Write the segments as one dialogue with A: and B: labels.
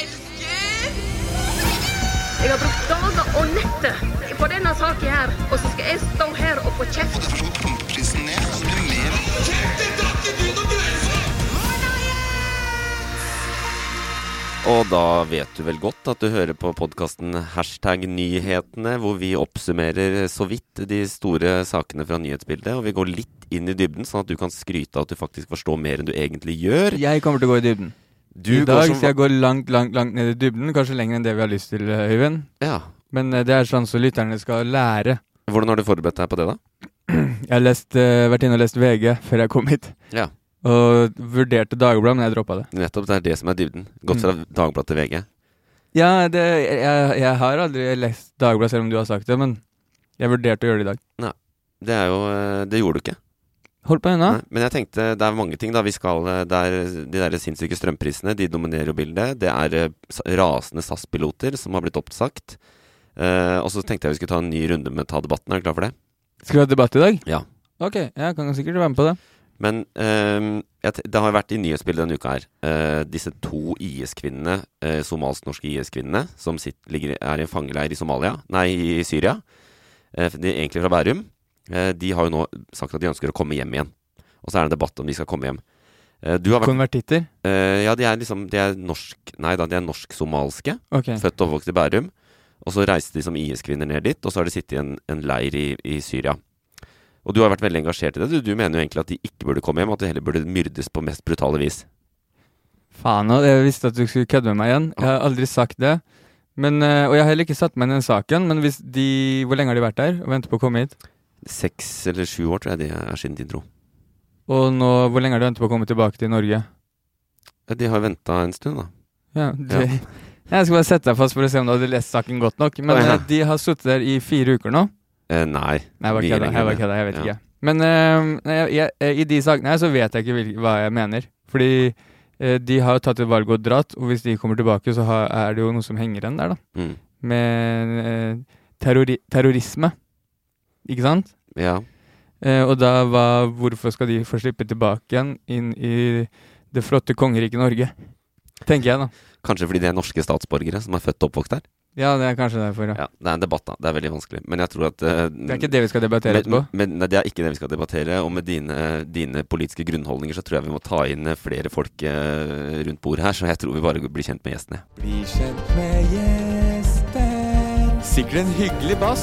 A: elsker
B: Jeg har brukt dager og netter på denne saken her, og så skal jeg stå her og få kjeft.
C: Derfor så går pumpeprisen ned, og så blir det mer.
D: Og da vet du vel godt at du hører på podkasten Hashtag nyhetene, hvor vi oppsummerer så vidt de store sakene fra nyhetsbildet. Og vi går litt inn i dybden, sånn at du kan skryte av at du faktisk forstår mer enn du egentlig gjør.
E: Jeg kommer til å gå i dybden.
D: Du
E: I dag
D: går som-
E: skal jeg gå langt, langt langt ned i dybden. Kanskje lenger enn det vi har lyst til, eh, Øyvind.
D: Ja.
E: Men eh, det er sånn så lytterne skal lære.
D: Hvordan har du forberedt deg på det, da?
E: Jeg har lest, eh, vært inne og lest VG før jeg kom hit.
D: Ja.
E: Og vurderte Dagbladet, men jeg droppa det.
D: Nettopp, det er det som er dybden. Gått fra Dagbladet til VG.
E: Ja, det, jeg, jeg har aldri lest Dagbladet, selv om du har sagt det, men jeg vurderte å gjøre det i dag.
D: Det er jo eh, Det gjorde du ikke.
E: Hold på unna.
D: Nei, Men jeg tenkte det er mange ting da vi skal eh, det er, De der sinnssyke strømprisene De dominerer jo bildet Det er eh, s- rasende SAS-piloter som har blitt oppsagt Eh, Og så tenkte jeg vi skulle ta en ny runde med ta debatten Er du klar for det?
E: Skal vi ha debatt i dag?
D: Ja.
E: Ok, jeg kan sikkert være med på det.
D: Men eh, jeg te- det har jo vært i nyhetsbildet denne uka her eh, Disse to IS-kvinnene eh, Somalsk-norske IS-kvinnene Som sitt- ligger, er i en fangeleir i Somalia Nei, i Syria eh, De er egentlig fra Bærum Eh, De har jo nå sagt at de ønsker å komme hjem igjen Og så er det en debatt om de skal komme hjem Eh, du har vært
E: Konvertitter?
D: Eh, ja, de er liksom De er norsk Nei da, de er norsk-somalske.
E: Ok.
D: Født og oppvokst i Bærum. Og så reiste de som IS-kvinner ned dit, og så har de sittet i en, en leir i, i Syria. Og du har vært veldig engasjert i det. Du, du mener jo egentlig at de ikke burde komme hjem, at de heller burde myrdes på mest brutale vis.
E: Faen òg, jeg visste at du skulle kødde med meg igjen. Jeg har aldri sagt det. Men, eh, og jeg har heller ikke satt meg inn i den saken, men hvis de, hvor lenge har de vært der og venter på å komme hit?
D: Seks eller sju år, tror jeg det er siden de dro.
E: Og nå, hvor lenge har de ventet på å komme tilbake til Norge?
D: Ja, de har jo venta en stund, da.
E: Ja, det, Jeg skal bare sette deg fast for å se om du hadde lest saken godt nok. Men
D: Ja.
E: eh, de har sittet der i fire uker nå.
D: Eh, nei.
E: Nei, jeg bare
D: mye
E: kødda.
D: lenger
E: Jeg, bare
D: enn det.
E: kødda, jeg vet
D: Ja.
E: ikke. Men eh, nei, jeg, jeg, i de sakene her så vet jeg ikke hvil, hva jeg mener. Fordi eh, de har jo tatt et valg og dratt, og hvis de kommer tilbake, så har, er det jo noe som henger igjen der, da.
D: Mm.
E: Med eh, terrori terrorisme. Ikke sant?
D: Ja.
E: Eh, og da var hvorfor skal de få slippe tilbake igjen inn i det flotte kongeriket Norge? Tenker jeg, da.
D: Kanskje fordi de er norske statsborgere som er født og oppvokst der.
E: Ja, det er kanskje derfor, ja.
D: Ja, Det er en debatt, da. Det er veldig vanskelig. Men jeg tror at eh,
E: Det er ikke det vi skal debattere
D: Men,
E: etterpå.
D: men nei, det er ikke det vi skal debattere. Og med dine, dine politiske grunnholdninger så tror jeg vi må ta inn eh, flere folk eh, rundt bordet her, så jeg tror vi bare blir kjent med gjestene.
F: Bli kjent med gjesten. Sikkert en hyggelig bass.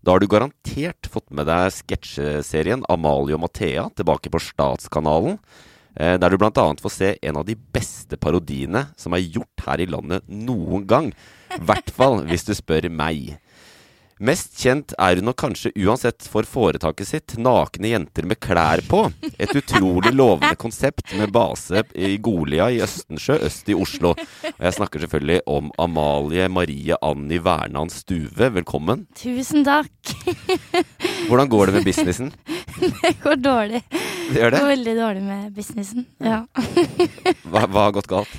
D: Da har du garantert fått med deg sketsjeserien Amalie og Mathea tilbake på Statskanalen, eh, der du bl.a. får se en av de beste parodiene som er gjort her i landet noen gang. I hvert fall hvis du spør meg. Mest kjent er hun nok kanskje uansett for foretaket sitt Nakne jenter med klær på. Et utrolig lovende konsept med base i Golia i Østensjø øst i Oslo. Og jeg snakker selvfølgelig om Amalie Marie Anni Vernan Stuve. Velkommen.
G: Tusen takk.
D: Hvordan går det med businessen?
G: Det går dårlig.
D: Det Gjør det?
G: Det går veldig dårlig med businessen. Ja.
D: Hva, hva har gått galt?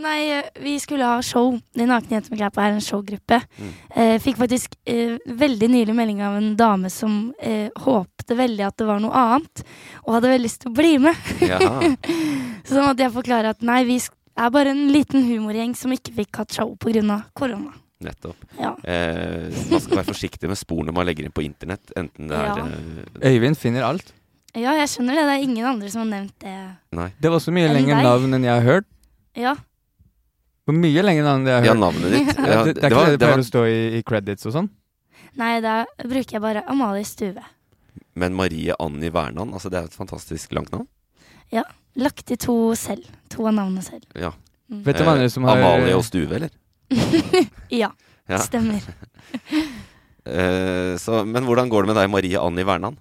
G: Nei, eh, vi skulle ha show. De nakne jentene med klær på er en showgruppe.
D: Mm.
G: Eh, fikk faktisk eh, veldig nylig melding av en dame som eh, håpte veldig at det var noe annet, og hadde veldig lyst til å bli med.
D: Jaha.
G: Så da måtte jeg forklare at nei, vi sk- er bare en liten humorgjeng som ikke fikk hatt show pga. korona.
D: Nettopp.
G: Ja.
D: Eh, man skal være forsiktig med sporene man legger inn på internett. Enten det er
G: Ja.
D: eh,
E: Øyvind finner alt.
G: ja, jeg skjønner det. Det er ingen andre som har nevnt det.
D: Nei.
E: Det var så mye
G: Enn
E: lengre
G: deg.
E: navn enn jeg har hørt.
G: Ja,
E: Det var mye lengre navn enn jeg har
D: Ja,
E: hørt.
D: navnet ditt.
E: Ja,
D: Ja,
E: det, det er ikke
D: var-
E: det det
D: var-
E: pleier å stå i, i credits og sånn.
G: Nei, da bruker jeg bare Amalie Stuve.
D: Men Marie Anni Vernan, altså det er et fantastisk langt navn.
G: Lagt til to selv. To av navnene selv.
D: Ja.
E: Vet du hva andre som har
D: Eh, Amalie og Stuve, eller?
G: Ja,
D: Ja.
G: stemmer.
D: Eh, så, men hvordan går det med deg, Marie Anni Vernan?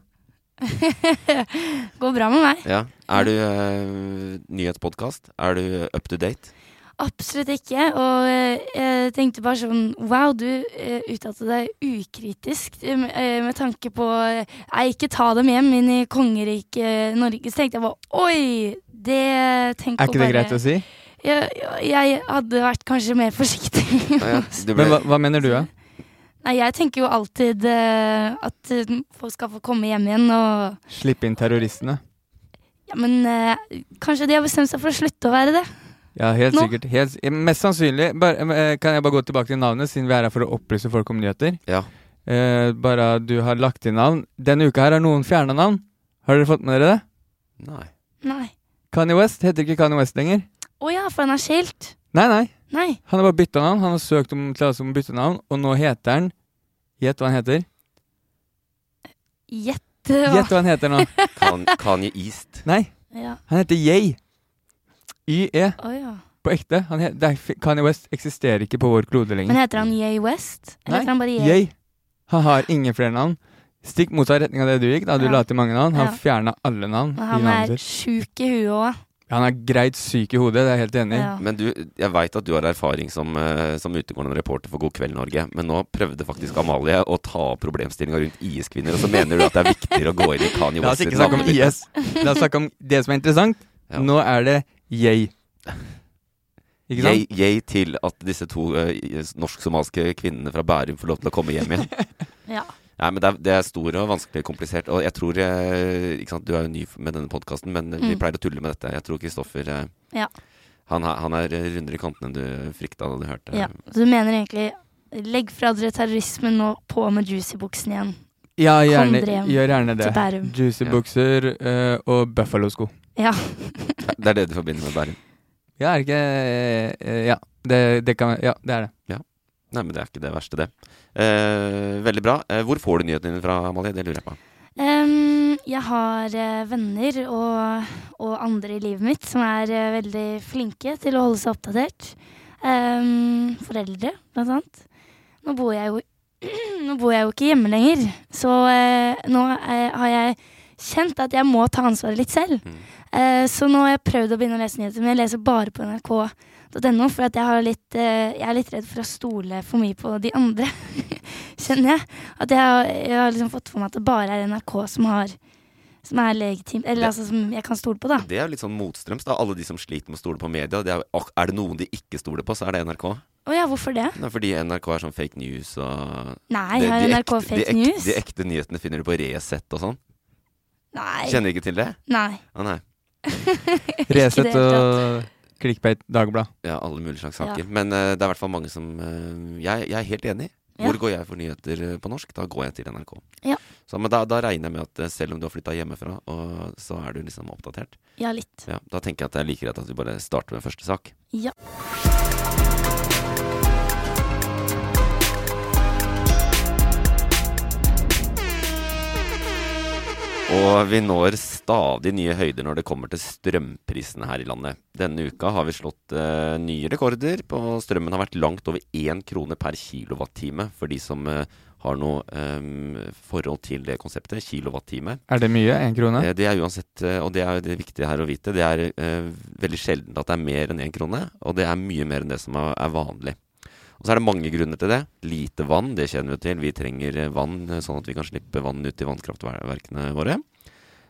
G: Går bra med meg.
D: Ja. Er du uh, nyhetspodkast? Er du up to date?
G: Absolutt ikke. Og eh, jeg tenkte bare sånn Wow, du eh, uttalte deg ukritisk eh, med, eh, med tanke på eh, Nei, ikke ta dem hjem inn i kongeriket eh, Norge. Så tenkte jeg bare Oi! Det tenk
E: Er ikke det greit altså? å si?
G: Jeg, jeg hadde vært kanskje mer forsiktig.
D: Ja, du ble,
E: Men hva, hva mener du, da?
G: Nei, jeg tenker jo alltid eh, at eh, folk skal få komme hjem igjen og
E: Slipp inn terroristene?
G: Ja, men eh, kanskje de har bestemt seg for å slutte å være det.
E: Ja, helt
G: Nå?
E: sikkert. Helt, eh, mest sannsynlig bare, eh, Kan jeg bare gå tilbake til navnet, siden vi er her for å opplyse folk om nyheter?
D: Ja.
E: Eh, bare du har lagt inn navn. Denne uka her har noen fjerna navn. Har dere fått med dere det?
D: Nei.
G: Nei.
E: Kanye West heter ikke Kanye West lenger.
G: Å ja, for han er skilt.
E: Nei, nei.
G: Nei.
E: Han har bare bytta navn. Han har søkt om tillatelse om å bytte navn, og nå heter han Gjett hva han heter.
G: Gjett.
E: Gjett
G: hva-
E: hva han heter nå.
D: Kan, Kanye East.
E: Nei,
G: Ja.
E: han heter Ye. Y-E.
G: Å ja.
E: På ekte. Han he, det er, Kanye West eksisterer ikke på vår klode lenger.
G: Men heter han Yay West? Eller
E: Nei,
G: heter han bare Yay?
E: Jeg. Han har ingen flere navn. Stikk motsatt retning av det du gikk. da Du
G: Ja.
E: la til mange navn. Han
G: Ja.
E: fjerna alle navn.
G: Men
E: i
G: han
E: navnet
G: er
E: sitt.
G: sjuk i huet òg.
E: han er greit syk i hodet, det er jeg helt enig i.
G: Ja.
D: Men du, jeg veit at du har erfaring som, eh, som utegående reporter for God kveld Norge, men nå prøvde faktisk Amalie å ta opp problemstillinga rundt IS-kvinner, og så mener du at det er viktigere å gå inn i Kanye
E: La
D: West
E: oss altså, ikke
D: sitt
E: snakke om
D: navnebytte.
E: IS. La oss snakke om det som er interessant.
D: Ja.
E: Nå er det jeg. Ikke sant?
D: Jeg, jeg til at disse to eh, is- norsk-somaliske kvinnene fra Bærum får lov til å komme hjem igjen.
G: Ja.
D: Nei, men det er, det er stor og vanskelig komplisert. Og jeg tror eh, ikke sant, Du er jo ny f- med denne podkasten, men vi
G: Mm.
D: pleier å tulle med dette. Jeg tror Kristoffer eh,
G: Ja.
D: han, er- han er rundere i kantene enn du frykta da du hørte.
G: ja. Så du mener egentlig Legg fra dere terrorismen nå, på med juicy-buksen igjen.
E: Ja, gjerne,
G: Kom dere hjem
E: gjør gjerne det.
G: til Bærum.
E: Juicy
D: Ja.
E: bukser eh, og buffalosko.
G: Ja.
D: Det er det du forbinder med Bærum.
E: Ja, er det ikke eh, Ja, det, det kan Ja, det er det.
D: Nei, men det er ikke det verste, det. Eh, veldig bra. Eh, hvor får du nyhetene dine fra, Amalie? Det lurer jeg på.
G: Em, jeg har eh, venner og, og andre i livet mitt som er eh, veldig flinke til å holde seg oppdatert. Em, Ehm, foreldre, blant annet. Nå bor jeg jo, nå bor jeg jo ikke hjemme lenger, så eh, nå eh, har jeg kjent at jeg må ta ansvaret litt selv.
D: Mm.
G: Eh, så nå har jeg prøvd å begynne å lese nyheter, men jeg leser bare på nrk.no, for at jeg, har litt, eh, jeg er litt redd for å stole for mye på de andre, kjenner jeg. At jeg, har- jeg har liksom fått for meg at det bare er NRK som har som er legitimt, eller
D: Det-
G: altså som jeg kan stole på, da.
D: Det er jo litt sånn motstrøms, da. Alle de som sliter med å stole på media. Det er, jo- ak- er det noen de ikke stoler på, så er det NRK.
G: Å ja, hvorfor det?
D: Det er fordi NRK er sånn fake news og
G: Nei,
D: Det-
G: har
D: de
G: NRK
D: ekte- de
G: fake
D: ekte-
G: news?
D: De ekte nyhetene finner du på Resett og sånn.
G: Nei.
D: Kjenner ikke til det?
G: Nei.
D: Å nei.
G: det
E: Resett
G: helt
E: og Clickbait Dagblad.
D: Ja, alle mulige slags saker. Men eh, det er i hvert fall mange som eh, jeg, jeg er helt enig. Hvor
G: Ja.
D: går jeg for nyheter eh, på norsk? Da går jeg til NRK.
G: Ja.
D: Så, men da, da regner jeg med at eh, selv om du har flytta hjemmefra, og så er du liksom oppdatert.
G: Ja, litt.
D: Ja, da tenker jeg at det er like greit at vi bare starter med første sak.
G: Ja.
D: Og vi når stadig nye høyder når det kommer til strømprisene her i landet. Denne uka har vi slått eh, nye rekorder, på strømmen har vært langt over én krone per kilowattime for de som eh, har noe eh, forhold til det konseptet, kilowattime.
E: Er det mye? Én krone?
D: Eh, Det er uansett, eh, og det er jo det viktige her å vite, det er eh, veldig sjelden at det er mer enn én krone, og det er mye mer enn det som er, er vanlig. Og så er det mange grunner til det. Lite vann, det kjenner vi til. Vi trenger eh, vann eh, sånn at vi kan slippe vann ut i vannkraftverkene våre.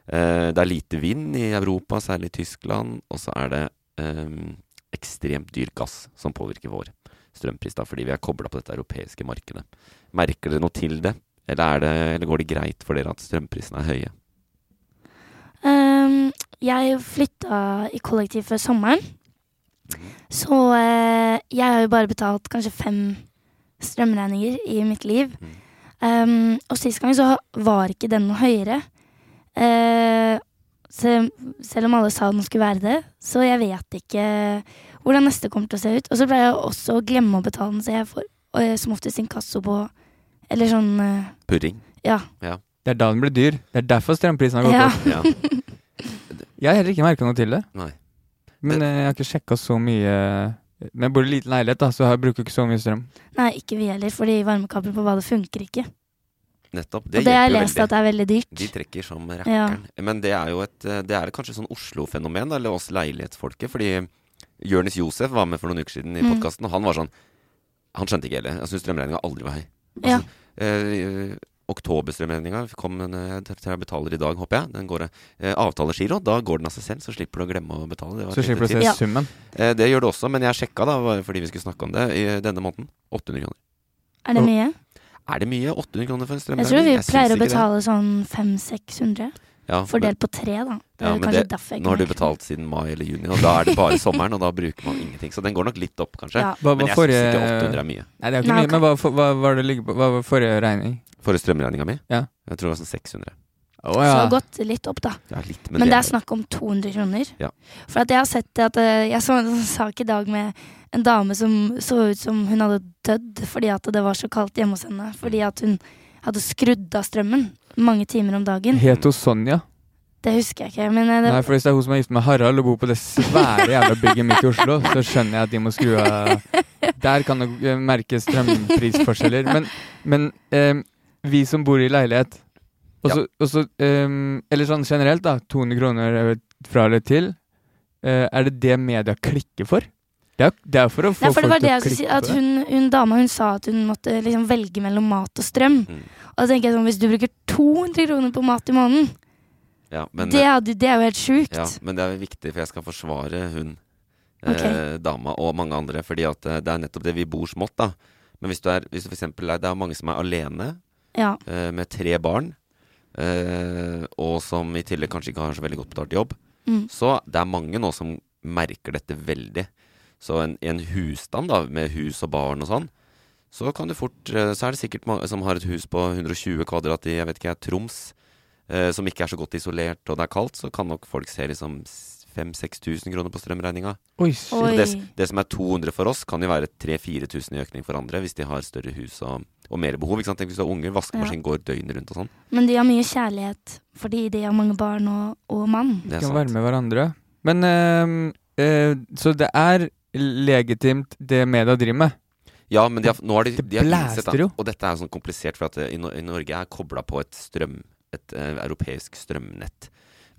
D: Eh, Det er lite vind i Europa, særlig i Tyskland, og så er det eh, ekstremt dyr gass som påvirker vår strømpris, da, fordi vi er kobla på dette europeiske markedet. Merker dere noe til det? Eller, er det, eller går det greit for dere at strømprisene er høye?
G: Ehm, jeg flytta i kollektiv før sommeren. Så eh, jeg har jo bare betalt kanskje fem strømregninger i mitt liv. Ehm, og sist gang så var ikke den noe høyere. Eh, se, selv om alle sa den skulle være det. Så jeg vet ikke hvordan neste kommer til å se ut. Og så pleier jeg også å glemme å betale den, så jeg får eh, som oftest inkasso på Eller sånn eh,
D: Purring.
G: Ja.
E: Det er da den blir dyr. Det er derfor strømprisen har gått
G: ja.
E: opp. Jeg har heller ikke merka noe til det.
D: Nei.
E: Men eh, jeg har ikke sjekka så mye eh, Men jeg bor i liten leilighet, da, så jeg bruker ikke så mye strøm.
G: Nei, ikke vi heller, fordi varmekabler på badet funker ikke.
D: Nettopp.
G: og det har jeg lest at det er veldig dyrt.
D: De trekker som rakkeren. Men det er jo et eh, Det er kanskje sånn Oslo-fenomen, da, eller oss leilighetsfolket. Fordi Jonis Josef var med for noen uker siden i
G: Mm.
D: podkasten, og han var sånn Han skjønte ikke heller. Jeg syns strømregninga aldri var høy. Altså,
G: Ja.
D: Eh, Oktoberstrømregninga kom en eh, til til jeg betaler i dag, håper jeg. Den går eh, Avtalegiro, da går den av seg selv, så slipper du å glemme å betale. Det var
E: Så
D: et
E: slipper du å
D: lite
E: se
G: Ja.
E: summen.
D: tips. Eh, Det gjør det også, men jeg sjekka da, bare fordi vi skulle snakke om det, i denne måneden. 800 kroner.
G: Er det mye?
D: Er det mye? 800 kroner for en
G: Jeg
D: strømregning?
G: tror vi
D: syns
G: pleier å
D: ikke det.
G: betale sånn 500-600.
D: Ja, men-
G: Fordelt på tre, da. Det
D: Ja,
G: er
D: men
G: kanskje
D: det-
G: derfor jeg
D: Nå har du
G: ikke-
D: betalt siden mai eller juni, og da er det bare sommeren, og da bruker man ingenting. Så den går nok litt opp, kanskje.
G: Ja.
E: Hva
D: Men
E: var
D: jeg syns
E: forrige
D: ikke 800 er mye.
E: Nei, det er jo ikke
G: Nei,
E: mye, men hva, for- hva var det ligge på? Hva var forrige regning?
D: Forrige strømregninga mi?
E: Ja.
D: Jeg tror det var sånn 600.
E: Oh,
G: Så gått litt opp, da.
D: Ja, litt, men,
G: Men det er
D: er-
G: snakk om 200 kroner.
D: Ja.
G: For at jeg har sett at eh, Jeg så en sånn sak i dag med en dame som så ut som hun hadde dødd fordi at det var så kaldt hjemme hos henne. Fordi at hun hadde skrudd av strømmen mange timer om dagen.
E: Het hun Sonja?
G: Det husker jeg ikke. Men eh, det,
E: Nei, for hvis det er hun som er gift med Harald og bor på det svære jævla bygget midt i Oslo, så skjønner jeg at de må skru av Der kan det eh, merkes strømprisforskjeller. Men, men eh, vi som bor i leilighet og så- og så, eh, Eller sånn generelt, da. 200 kroner eh, fra eller til. eh, er det det media klikker for? Det er, det er for å få
G: Nei, for
E: folk
G: det var det
E: til å
G: jeg skulle si.
E: klikke
G: At
E: på det.
G: hun, hun dama hun sa at hun måtte liksom velge mellom mat og strøm.
D: Mm.
G: Og da tenker jeg sånn, hvis du bruker 200 kroner på mat i måneden,
D: ja, men, eh,
G: det, hadde, det er jo helt sjukt.
D: ja, men det er viktig, for jeg skal forsvare hun eh,
G: Ok.
D: dama og mange andre, fordi at eh, det er nettopp det. Vi bor smått, da. Men hvis du er, hvis du for eksempel er Det er mange som er alene
G: Ja.
D: eh, med tre barn, eh, og som i tillegg kanskje ikke har så veldig godt betalt jobb.
G: Mm.
D: Så det er mange nå som merker dette veldig. Så en, en husstand da, med hus og barn og sånn, så kan du fort eh, Så er det sikkert mange som har et hus på 120 kvadrat i jeg vet ikke, Troms, eh, som ikke er så godt isolert og det er kaldt, så kan nok folk se liksom 5000-6000 kroner på strømregninga.
E: Oi, shit.
G: Oi.
D: Og Det, s- det som er 200 for oss, kan jo være 3000-4000 i økning for andre hvis de har større hus og, og mer behov. ikke sant? Tenk hvis du har unger, vaskemaskin går døgnet rundt og sånn.
G: Men de har mye kjærlighet fordi de har mange barn og, og mann.
D: Det er
E: kan
D: sant.
E: være med hverandre. Men eh, eh, Så det er legitimt, det media driver med.
D: Ja, men de har, nå har de,
E: Det
D: de har innsett
E: blæster
D: da,
E: jo.
D: Og dette er jo sånn komplisert, for at eh, i, Nor- i Norge er kobla på et strøm Et eh, europeisk strømnett.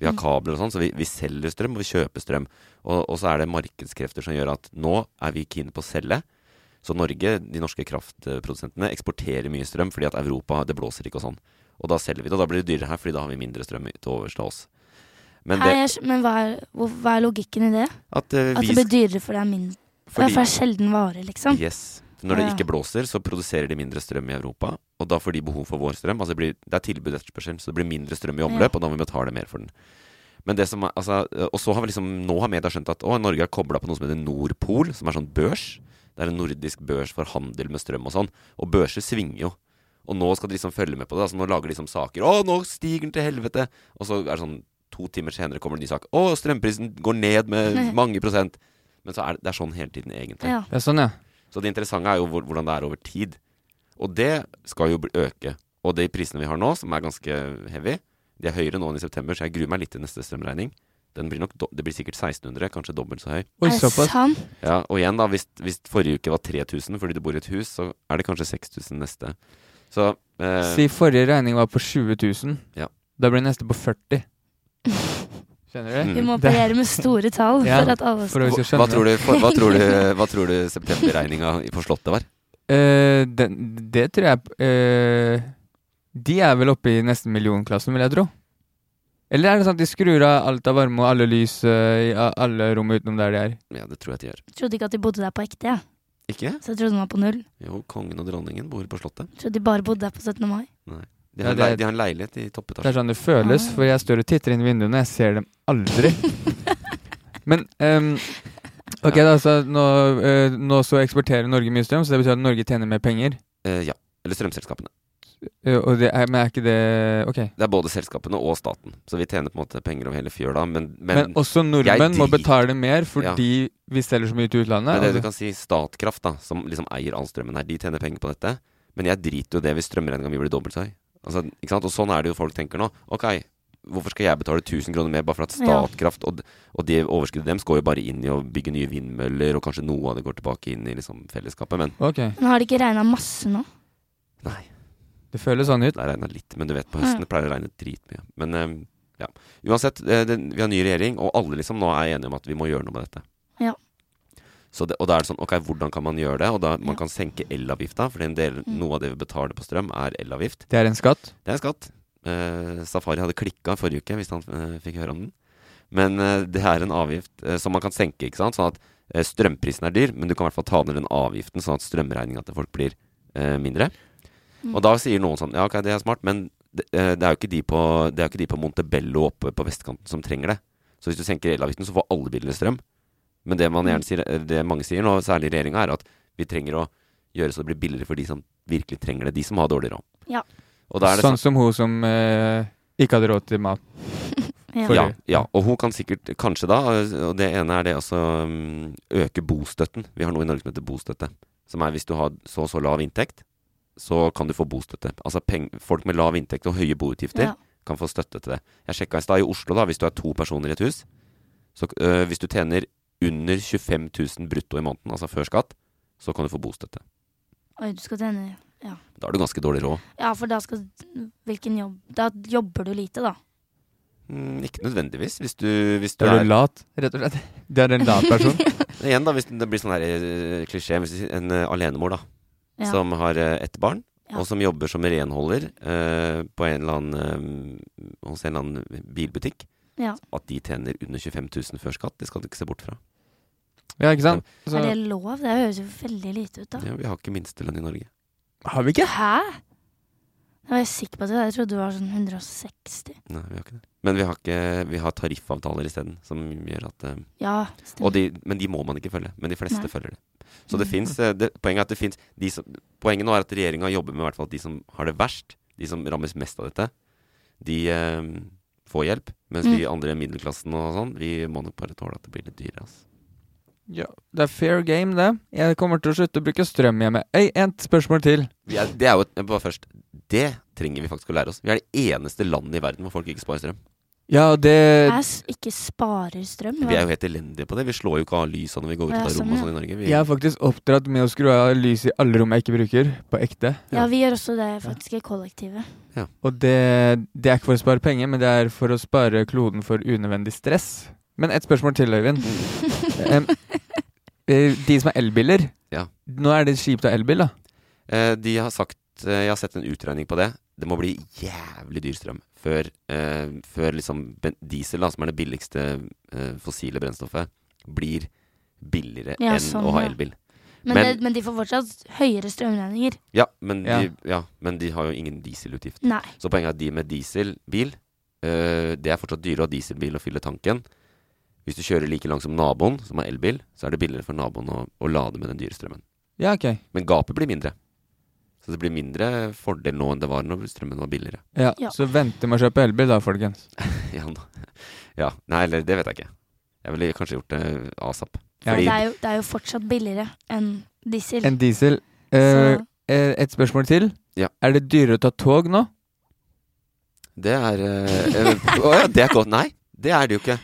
D: Vi
E: Mm.
D: har kabler og sånn, så vi, vi selger strøm, og vi kjøper strøm. Og, og så er det markedskrefter som gjør at nå er vi keen på å selge. Så Norge, de norske kraftprodusentene, eksporterer mye strøm fordi at Europa, det blåser ikke og sånn. Og da selger vi det, og da blir det dyrere her, fordi da har vi mindre strøm til overs til oss. Men det
G: Nei, jeg skj- men hva er, hvor, hva er logikken i det?
D: at eh,
G: At
D: vi
G: det blir dyrere fordi det er mindre? Altså, For det er sjelden vare, liksom.
D: Yes. Når det
G: Ja.
D: ikke blåser, så produserer de mindre strøm i Europa. Og da får de behov for vår strøm. Altså det, blir, det er tilbud og etterspørsel, så det blir mindre strøm i omløp, og da må vi betale mer for den. Men det som er, altså, og så har vi liksom, nå har media skjønt at å, Norge er kobla på noe som heter Nordpol, som er sånn børs. Det er en nordisk børs for handel med strøm og sånn. Og børser svinger jo. Og nå skal de liksom følge med på det. Altså, nå lager de liksom saker. Å, nå stiger den til helvete! Og så er det sånn to timer senere kommer det en ny sak. Å, strømprisen går ned med mange prosent! Men så er det, det er sånn hele tiden, egentlig.
G: Ja.
E: Det er sånn, ja.
D: Så det interessante er jo hvor, hvordan det er over tid. Og det skal jo bli- øke. Og de prisene vi har nå, som er ganske heavy, de er høyere nå enn i september, så jeg gruer meg litt til neste strømregning. Den blir nok, do- det blir sikkert 1600, kanskje dobbelt så høy.
E: Oi,
G: Er det
E: såpass.
G: sant?
D: Ja, og igjen da, hvis, hvis forrige uke var 3000 fordi du bor i et hus, så er det kanskje 6000 neste. Så eh,
E: Si forrige regning var på 20 000.
D: Ja.
E: Da blir neste på 40.
D: mm.
E: Skjønner du?
G: Vi må
E: Mm. Det-
G: operere med store tall
E: Ja,
G: for at alle
E: for å-
G: skal
D: hva,
E: hvis jeg
D: hva
E: skjønner.
D: tror du, for, hva tror du, hva tror du septemberregninga for Slottet var?
E: Eh, den, det tror jeg eh, De er vel oppe i nesten millionklassen, vil jeg tro. Eller er det sånn at de skrur av alt av varme og alle lys eh, i a- alle rom utenom der de er?
D: Ja, det tror jeg de gjør.
G: Jeg trodde ikke at de bodde der på ekte, jeg.
D: Ikke?
G: så jeg trodde de var på null.
D: Jo, kongen og dronningen bor på Slottet.
G: Jeg trodde de bare bodde der på 17. mai.
D: De har,
E: Ja, det er-
D: lei- de har en leilighet i
E: Det er
D: toppetasjen.
E: sånn det føles,
G: Ah.
E: for jeg står og titter inn i vinduene, jeg ser dem aldri. Men ehm, Ok, da, så nå, eh, nå så eksporterer Norge mye strøm, så det betyr at Norge tjener mer penger.
D: Eh, ja. Eller strømselskapene.
E: Eh, og det er, men er ikke det Ok.
D: Det er både selskapene og staten. Så vi tjener på en måte penger over hele fjøla, men, men,
E: Men, også nordmenn må
D: driter-
E: betale mer fordi vi selger så mye til utlandet.
D: men det
E: og
D: du kan si Statkraft, da, som liksom eier all strømmen her, de tjener penger på dette. Men jeg driter jo i det hvis strømregninga mi blir dobbelt så høy. Altså, ikke sant? Og sånn er det jo folk tenker nå. Ok, hvorfor skal jeg betale 1000 kroner mer bare for at
G: Ja.
D: Statkraft og, d- og det overskuddet deres går jo bare inn i å bygge nye vindmøller, og kanskje noe av det går tilbake inn i liksom fellesskapet, men
E: Ok,
G: Men har det ikke regna masse nå?
D: nei.
E: det føles sånn ut.
D: Det har regna litt, men du vet
G: Mm.
D: på høsten det pleier å regne dritmye. Men eh, ja. Uansett, eh, det, vi har ny regjering, og alle liksom nå er enige om at vi må gjøre noe med dette.
G: Ja.
D: Så det, og da er det sånn, ok, hvordan kan man gjøre det? Og da man
G: Ja.
D: kan senke elavgifta, for en del,
G: Mm.
D: noe av det vi betaler på strøm, er elavgift.
E: Det er en skatt.
D: Det er en skatt. Eh, Safari hadde klikka forrige uke, hvis han eh, fikk høre om den. Men eh, det er en avgift eh, som man kan senke, ikke sant. Sånn at eh, strømprisen er dyr, men du kan i hvert fall ta ned den avgiften, sånn at strømregninga til folk blir eh, mindre.
G: Mm.
D: Og da sier noen sånn Ja, ok, det er smart, men det, eh, det er jo ikke de på, det er jo ikke de på Montebello oppe på vestkanten som trenger det. Så hvis du senker elavgiften, så får alle bilene strøm. Men det, man gjerne sier, eh, det mange sier nå, særlig regjeringa, er at vi trenger å gjøre så det blir billigere for de som virkelig trenger det. De som har dårlig råd.
G: Ja.
D: Og da er det
E: sånn som hun som eh, ikke hadde råd til mat.
G: Ja.
E: For-
D: ja,
E: Fordi-
D: ja, og hun kan sikkert kanskje da, og det ene er det også mm, øke bostøtten. Vi har noe i Norge som heter bostøtte. Som er hvis du har så og så lav inntekt, så kan du få bostøtte. Altså peng, folk med lav inntekt og høye boutgifter
G: Ja.
D: kan få støtte til det. Jeg sjekka i stad i Oslo, da, hvis du er to personer i et hus. Så øh, hvis du tjener under 25 000 brutto i måneden, altså før skatt, så kan du få bostøtte.
G: Oi, du skal tjene
D: Da har du ganske dårlig råd.
G: Ja, for da skal Hvilken jobb Da jobber du lite, da.
D: Mm, ikke nødvendigvis. Hvis du, hvis du
E: Da er
D: er
E: du lat, rett og slett. Det er en lat person.
D: Igjen, da, hvis det blir sånn her eh, klisjé hvis det- En eh, alenemor, da.
G: Ja.
D: som har eh, ett barn,
G: Ja.
D: og som jobber som renholder eh, på en eller annen, eh, hos en eller annen bilbutikk.
G: Ja.
D: At de tjener under 25 000 før skatt, det skal du ikke se bort fra.
E: Ja, ikke sant? Så,
G: Er det lov? Det høres jo veldig lite ut, da.
D: Ja, vi har ikke minstelønn i Norge.
E: har vi ikke?
G: Hæ? Jeg var sikker på at det. var- Jeg trodde det var sånn 160.
D: Nei, vi har ikke det. Men vi har, ikke, vi har tariffavtaler isteden, som gjør at eh,
G: Ja,
D: og
G: stemmer.
D: de, Men de må man ikke følge. Men de fleste
G: Nei. Mm.
D: følger det. Så det fins Poenget er at det finnes de som, Poenget nå er at regjeringa jobber med i hvert fall at de som har det verst, de som rammes mest av dette, de eh, får hjelp. Mens vi
G: Mm.
D: andre i middelklassen og sånn, vi må nok bare tåle at det blir litt dyrere. Altså.
E: Ja, det er fair game, det. Jeg kommer til å slutte å bruke strøm hjemme. Øy, ett spørsmål til.
D: Vi er, det er jo et- bare først Det trenger vi faktisk å lære oss. Vi er det eneste landet i verden hvor folk ikke sparer strøm.
E: Ja, og det
G: Jeg s- ikke sparer strøm.
D: Vi er jo helt elendige på det. Vi slår jo ikke av lysa når vi går ut
G: Ja,
D: av
G: sånn,
D: rommet og
G: ja.
D: sånn i Norge. Vi,
E: Jeg er faktisk oppdratt med å skru av lyset i alle rom jeg ikke bruker, på ekte.
G: Ja, vi gjør også det faktisk i kollektivet.
E: Og det, det er ikke for å spare penger, men det er for å spare kloden for unødvendig stress. Men et spørsmål til, Øyvind. Em, eh, de som har elbiler
D: Ja.
E: Nå er det kjipt å ha elbil, da.
D: Eh, de har sagt eh, Jeg har sett en utregning på det. Det må bli jævlig dyr strøm før, eh, før liksom ben- diesel, da, som er det billigste eh, fossile brennstoffet, blir billigere
G: Ja,
D: enn
G: sånn,
D: å ha
G: ja.
D: elbil.
G: Men,
D: Men-
G: det, men de får fortsatt høyere strømregninger.
D: Ja men,
E: Ja.
D: De, ja, men de har jo ingen dieselutgift.
G: Nei.
D: Så poenget er at de med dieselbil eh, Det er fortsatt dyrere å ha dieselbil og fylle tanken. Hvis du kjører like langt som naboen, som har elbil, så er det billigere for naboen å, å lade med den dyre strømmen.
E: Ja, ok.
D: Men gapet blir mindre. Så det blir mindre fordel nå enn det var når strømmen var billigere.
E: Ja,
G: Ja.
E: Så vente med å kjøpe elbil, da, folkens.
D: Ja, nå- ja. Nei, eller det vet jeg ikke. Jeg ville kanskje gjort det asap.
E: Ja.
G: Det
D: Fordi-
G: er, jo, det er jo fortsatt billigere enn diesel.
E: En diesel. Eh,
G: Så
E: eh, et spørsmål til.
D: Ja.
E: Er det dyrere å ta tog nå?
D: Det er eh, eh, Å ja, det er godt. Nei, det er det jo ikke.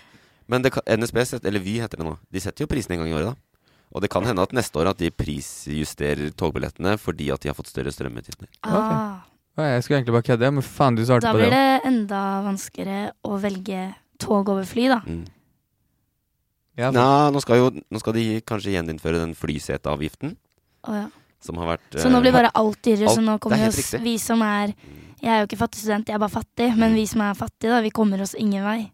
D: Men det, kan- NSB, set- eller Vy heter det nå, de setter jo prisene en gang i året, da. Og det kan hende at neste år at de prisjusterer togbillettene fordi at de har fått større strømutgifter.
G: Ah,
E: Å, Jeg skulle egentlig bare kødde, men faen, du svarte
G: Da
E: på det.
G: blir det enda vanskeligere å velge tog over fly, da.
D: Mm.
E: Ja,
D: Nå, nå, skal jo, nå skal de kanskje gjeninnføre den flyseteavgiften
G: Å, ja.
D: som har vært
G: Så nå
D: eh,
G: blir bare alt dyrere. Så
D: alt-
G: nå kommer
D: det er
G: jo
D: helt
G: oss,
D: riktig. Mm.
G: vi som er Jeg er jo ikke fattig student, jeg er bare fattig. Men vi som er fattige, da, vi kommer oss ingen vei.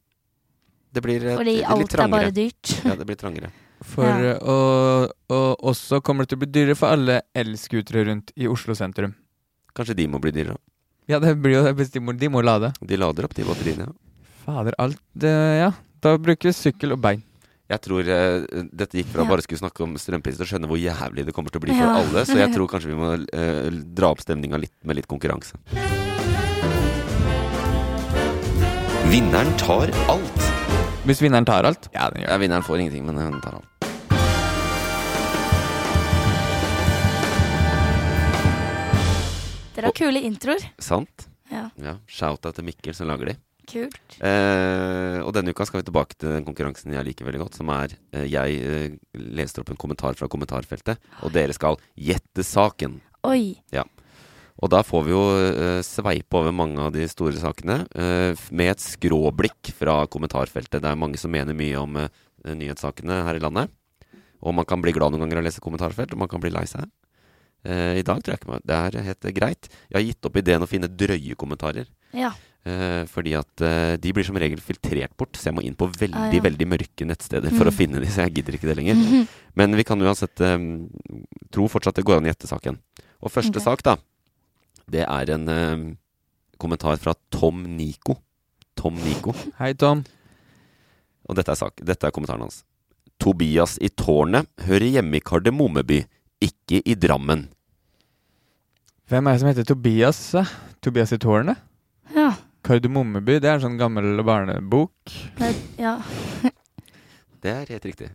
D: Det blir eh,
G: Fordi
D: litt
G: alt er
D: trangere.
G: bare dyrt.
D: Ja, det blir trangere.
E: For,
G: Ja.
E: og, og også kommer det til å bli dyrere for alle elskutere rundt i Oslo sentrum.
D: Kanskje de må bli dyrere.
E: Ja, det blir jo hvis de må, de må lade.
D: De lader opp de batteriene. ja.
E: Fader, alt det, Ja. Da bruker vi sykkel og bein.
D: Jeg tror eh, dette gikk fra
G: Ja.
D: bare skulle snakke om strømpriser og skjønne hvor jævlig det kommer til å bli for
G: Ja.
D: alle, så jeg tror kanskje vi må eh, dra opp stemninga litt med litt konkurranse. Vinneren tar alt.
E: Hvis vinneren tar alt. Ja, den
D: Ja, vinneren får ingenting, men hun tar alt.
G: Dere har kule introer.
D: Sant?
G: Ja.
D: Ja. Shout-out til Mikkel som lager de.
G: Kult.
D: Eh, og denne uka skal vi tilbake til den konkurransen jeg liker veldig godt, som er eh, Jeg eh, leste opp en kommentar fra kommentarfeltet, og dere skal gjette saken.
G: Oi.
D: Og da får vi jo eh, sveipe over mange av de store sakene eh, f- med et skråblikk fra kommentarfeltet. Det er mange som mener mye om eh, nyhetssakene her i landet. Og man kan bli glad noen ganger av å lese kommentarfelt, og man kan bli lei seg. Eh, I dag tror jeg ikke man- det er helt greit. Jeg har gitt opp ideen å finne drøye kommentarer.
G: Ja.
D: Eh, fordi at eh, de blir som regel filtrert bort, så jeg må inn på veldig
G: Ah, ja. Mm.
D: veldig mørke nettsteder for å finne de, så jeg gidder ikke det lenger. Men vi kan uansett eh, tro fortsatt det går an å gjette saken. Og første
G: Ok.
D: sak, da, det er en eh, kommentar fra Tom Nico. Tom Nico.
E: Hei, Tom.
D: Og dette er, sak, dette er kommentaren hans. Tobias i tårnet hører hjemme i Kardemommeby, ikke i Drammen.
E: Hvem er det som heter Tobias? eh? Tobias i tårnet?
G: Ja.
E: Kardemommeby, det er en sånn gammel barnebok.
G: Det, ja.
D: Det er helt riktig.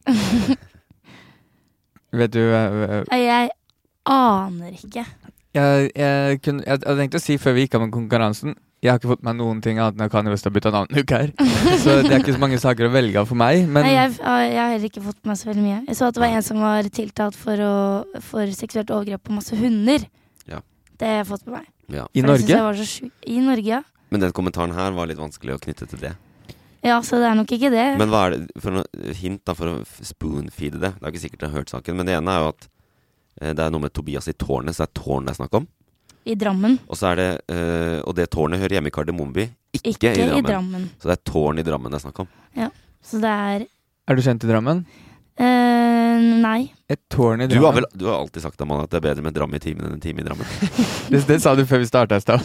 E: Vet du eh, eh,
G: Nei, Jeg aner ikke.
E: Jeg, jeg, kunne, jeg, jeg tenkte å si før vi gikk av med konkurransen Jeg har ikke fått med meg noen ting annet enn at Kanye West har bytta navn en uke her. Så det er ikke så mange saker å velge av for meg. Men
G: Nei, jeg, jeg har heller ikke fått med meg så veldig mye. Jeg så at det var en som var tiltalt for, å, for seksuelt overgrep på masse hunder.
D: Ja.
G: Det har jeg fått med meg.
D: Ja.
E: i
G: For det synes
E: Norge
G: jeg var så sjukt. I Norge, ja.
D: Men den kommentaren her var litt vanskelig å knytte til det.
G: Ja, så det er nok ikke det.
D: Men hva er det for noe hint da for å f- spoonfeede det? Det er ikke sikkert jeg har hørt saken, men det ene er jo at eh, det er noe med Tobias i tårnet, så det er tårn det er snakk om.
G: I Drammen.
D: Og, så er det, eh, og det tårnet hører hjemme i Kardemommeby, ikke,
G: Ikke
D: i, Drammen.
G: i Drammen.
D: Så det er tårn i Drammen det er snakk om.
G: Så det er
E: Er du kjent i Drammen?
G: eh, Nei.
E: Et tårn i
D: Du har,
E: Drammen.
D: vel, du har alltid sagt Amanda, at det er bedre med dram i timen enn en time i Drammen.
E: Det, det sa du før vi starta i stad.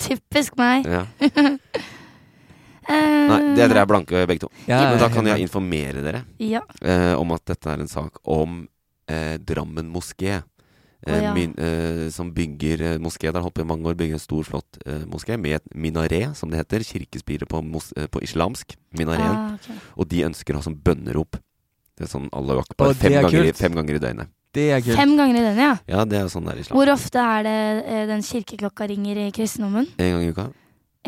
G: Typisk meg.
D: Ja.
G: Eh,
D: Nei, dere er blanke begge to.
E: Ja,
D: Men da
E: jeg-
D: kan jeg informere dere
G: Ja.
D: eh, om at dette er en sak om eh, Drammen moské. Eh,
G: Å, ja.
D: min, eh, som bygger eh, moské. Der har holdt på i mange år bygger en stor, flott eh, moské med et minaré, som det heter. Kirkespiret på, mos, eh, på islamsk. Minareen.
G: Ah, ok.
D: Og de ønsker å ha som bønnerop. Det er sånn Allahu
E: Å,
D: akbar
E: det
D: fem
E: er
D: ganger, i-
E: kult.
D: fem ganger i døgnet.
E: Det er kult.
G: Fem ganger i den, ja.
D: Ja, det er jo sånn det er i islam.
G: Hvor ofte er det eh, den kirkeklokka ringer i kristendommen?
D: En gang i uka,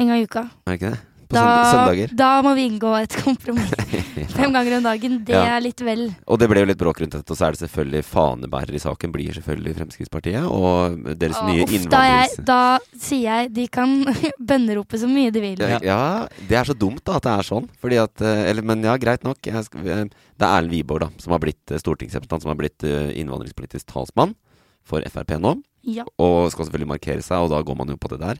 G: En gang i uka.
D: er det ikke det? På sønd- søndager.
G: da må vi inngå et kompromiss. Fem ganger om dagen, det
D: Ja.
G: er litt vel.
D: Og det ble jo litt bråk rundt dette, og så er det selvfølgelig fanebærer i saken, blir selvfølgelig Fremskrittspartiet, og deres
G: Ah,
D: nye
G: da,
D: innvandrings...
G: jeg, da sier jeg de kan bønnerope så mye de vil.
D: Ja. ja, det er så dumt da at det er sånn. Fordi at, eh, eller, men ja, greit nok. Jeg skal, eh, det er Erlend Wiborg da, som har blitt eh, stortingsrepresentant, som har blitt eh, innvandringspolitisk talsmann for Frp nå.
G: Ja.
D: Og skal selvfølgelig markere seg, og da går man jo på det der.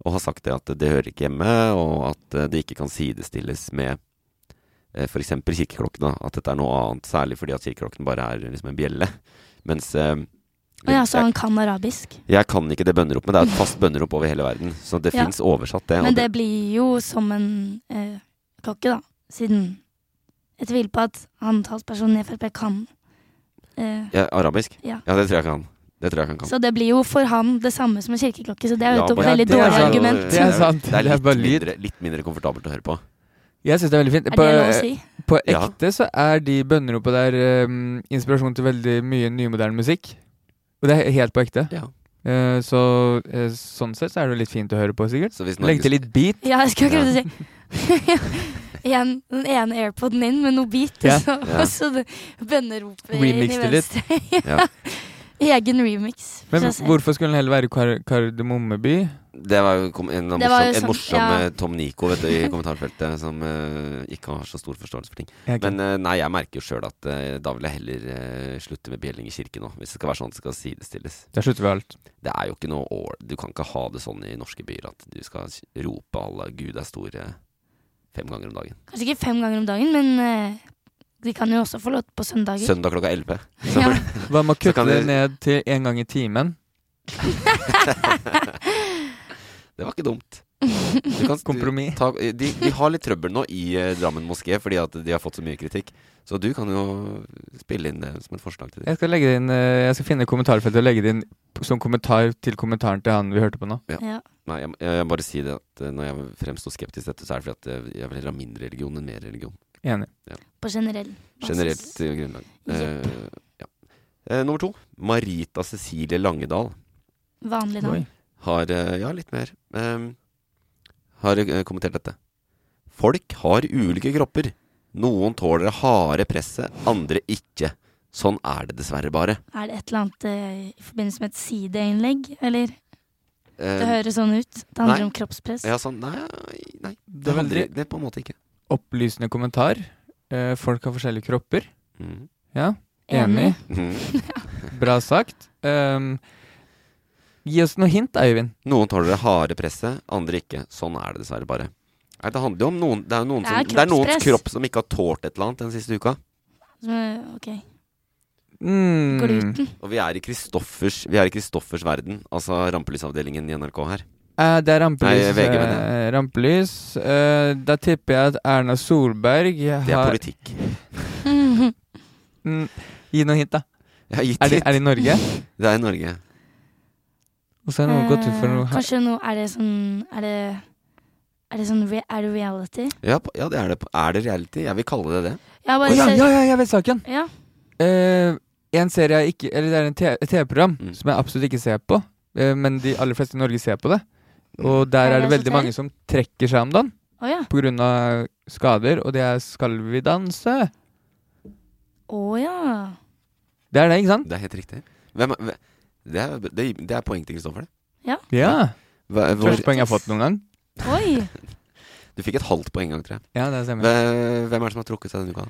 D: Og har sagt det at det hører ikke hjemme, og at eh, det ikke kan sidestilles med eh, f.eks. kirkeklokkene. At dette er noe annet, særlig fordi at kirkeklokken bare er liksom en bjelle. Mens eh,
G: Og ja, så
D: jeg,
G: han kan arabisk.
D: jeg kan ikke det bønneropet, men det er et fast bønnerop over hele verden. Så det
G: Ja.
D: finnes fins oversatt, det. og
G: Men det blir jo som en eh, klokke, da. Siden jeg tviler på at han talspersonen i Frp kan eh,
D: Ja, arabisk?
G: Ja.
D: det tror jeg ikke han. Det tror jeg ikke han kan.
G: Så det blir jo for han det samme som en kirkeklokke, så det er jo et
D: bare-
G: veldig
E: det er
G: dårlig
E: sant.
G: argument.
E: Det er
D: sånn-
E: sant.
D: Det er
E: Det er
D: litt,
E: bare lyd.
D: mindre, litt mindre komfortabelt å høre på.
E: Jeg syns det er veldig fint.
G: Er det lov å si?
E: På
D: Ja.
E: ekte så er de bønneropa der um, inspirasjon til veldig mye nymoderne musikk. Og det er helt på ekte.
D: Ja.
E: Eh, så eh, sånn sett så er det jo litt fint å høre på, sikkert.
D: Så hvis
E: Legg til
D: Norges-
E: litt beat.
G: Ja, jeg skulle akkurat si en, Den ene airpoden inn med noe beat,
E: Ja.
G: og så,
D: Ja.
G: og så det bønneropet inn i
E: Remix det litt.
G: venstre. ja. Egen remix. for
E: Men
G: seg selv.
E: hvorfor skulle den heller være kar Kardemommeby?
D: Det var jo kom- en morsom,
G: Det var jo
D: en
G: sånn-
D: morsom
G: ja.
D: eh, Tom Nico vet du, i kommentarfeltet som eh, ikke har så stor forståelse for ting.
E: Ja, ok.
D: Men eh, nei, jeg merker jo sjøl at eh, da vil jeg heller eh, slutte med bjelling i kirken nå. Hvis det skal være sånn det skal sidestilles.
E: Da slutter vi alt.
D: Det er jo ikke noe år Du kan ikke ha det sånn i norske byer at du skal rope alle 'Gud er stor' eh, fem ganger om dagen.
G: Kanskje ikke fem ganger om dagen, men eh, de kan jo også få lov på søndager.
D: Søndag klokka elleve.
G: Ja.
E: Hva med å
D: Så kan
E: kutte det
D: du-
E: ned til én gang i timen?
D: Det var ikke dumt. Du kan- du-
E: Kompromiss.
D: Ta, de, de har litt trøbbel nå i eh, Drammen moské fordi at de har fått så mye kritikk. Så du kan jo spille inn det som et forslag til dem.
E: Jeg skal, legge det inn, eh, jeg skal finne kommentarfeltet og legge det inn p- som kommentar til kommentaren til han vi hørte på nå.
G: Ja.
D: Nei, jeg, jeg må bare si det at eh, når jeg fremsto skeptisk til dette, så er det fordi at eh, jeg vil heller ha mindre religion enn mer religion.
E: Enig.
G: På generell basis.
D: Generelt eh, grunnlag.
G: Jepp.
D: Eh, ja. Eh, nummer to. Marita Cecilie Langedal
G: Vanlig navn.
E: Oi.
D: har eh, Ja, litt mer. eh, har eh, kommentert dette. Folk har ulike kropper. Noen tåler det harde presset, andre ikke. Sånn er det dessverre bare.
G: Er det et eller annet eh, i forbindelse med et sideinnlegg, eller? Det
D: Eh,
G: høres sånn ut. Det handler
D: nei.
G: om kroppspress.
D: ja, sånn Nei, nei det,
E: er veldig-
D: handler, det er på en måte ikke.
E: Opplysende kommentar. Eh, folk har forskjellige kropper.
D: Mm.
E: Ja, enig.
D: Mhm.
E: Bra sagt. Ehm, gi oss noe hint, Øyvind.
D: Noen tåler det harde presset, andre ikke. Sånn er det dessverre bare. Nei, det handler jo om noen Det er, jo noen
G: Det
D: som,
G: er
D: det er noens
G: kroppspress.
D: kropp som ikke har tålt et eller annet den siste uka.
G: Som, eh, Ok.
E: Mm.
G: Gluten.
D: Og vi er i Kristoffers Vi er i Kristoffers verden, altså rampelysavdelingen i NRK her.
E: Eh, det er rampelys.
D: Nei, VG, mener
E: eh, rampelys. Eh, da tipper jeg at Erna Solberg
D: Det er
E: har
D: politikk.
G: Mhm.
E: mm, Gi noe hint, da.
D: Jeg har gitt
E: Er det,
D: hit.
E: er det i Norge?
D: Det er i Norge.
E: Og så er det noe gått ut for
G: Eh,
E: noe her.
G: Kanskje noe Er det sånn Er det er det sånn re er det reality?
D: Ja, på- ja, det er det. på- Er det reality? Jeg vil kalle det det.
G: Jeg har
E: Å,
G: bare
E: ja,
G: sett
E: ja, ja, jeg vet saken!
G: Ja.
E: Eh, en serie jeg ikke Eller det er en te- et TV-program
D: Mm.
E: som jeg absolutt ikke ser på, eh, men de aller fleste i Norge ser på det. Og der er det
G: Paradise
E: veldig mange
G: Hotel?
E: som trekker seg om dagen
G: Å ja.
E: pga. skader, og det er 'Skal vi danse'.
G: Å ja.
E: Det er det, ikke sant?
D: Det er helt riktig. Hvem, er- hve- det, er, det, det er poeng til Kristoffer, det.
E: Ja.
D: Hva- hvor-
E: Første poeng jeg har fått noen gang.
G: Oi.
D: du fikk et halvt poeng en gang, tror jeg.
E: Ja, det stemmer.
D: Hve- Hvem er det som har trukket seg denne uka?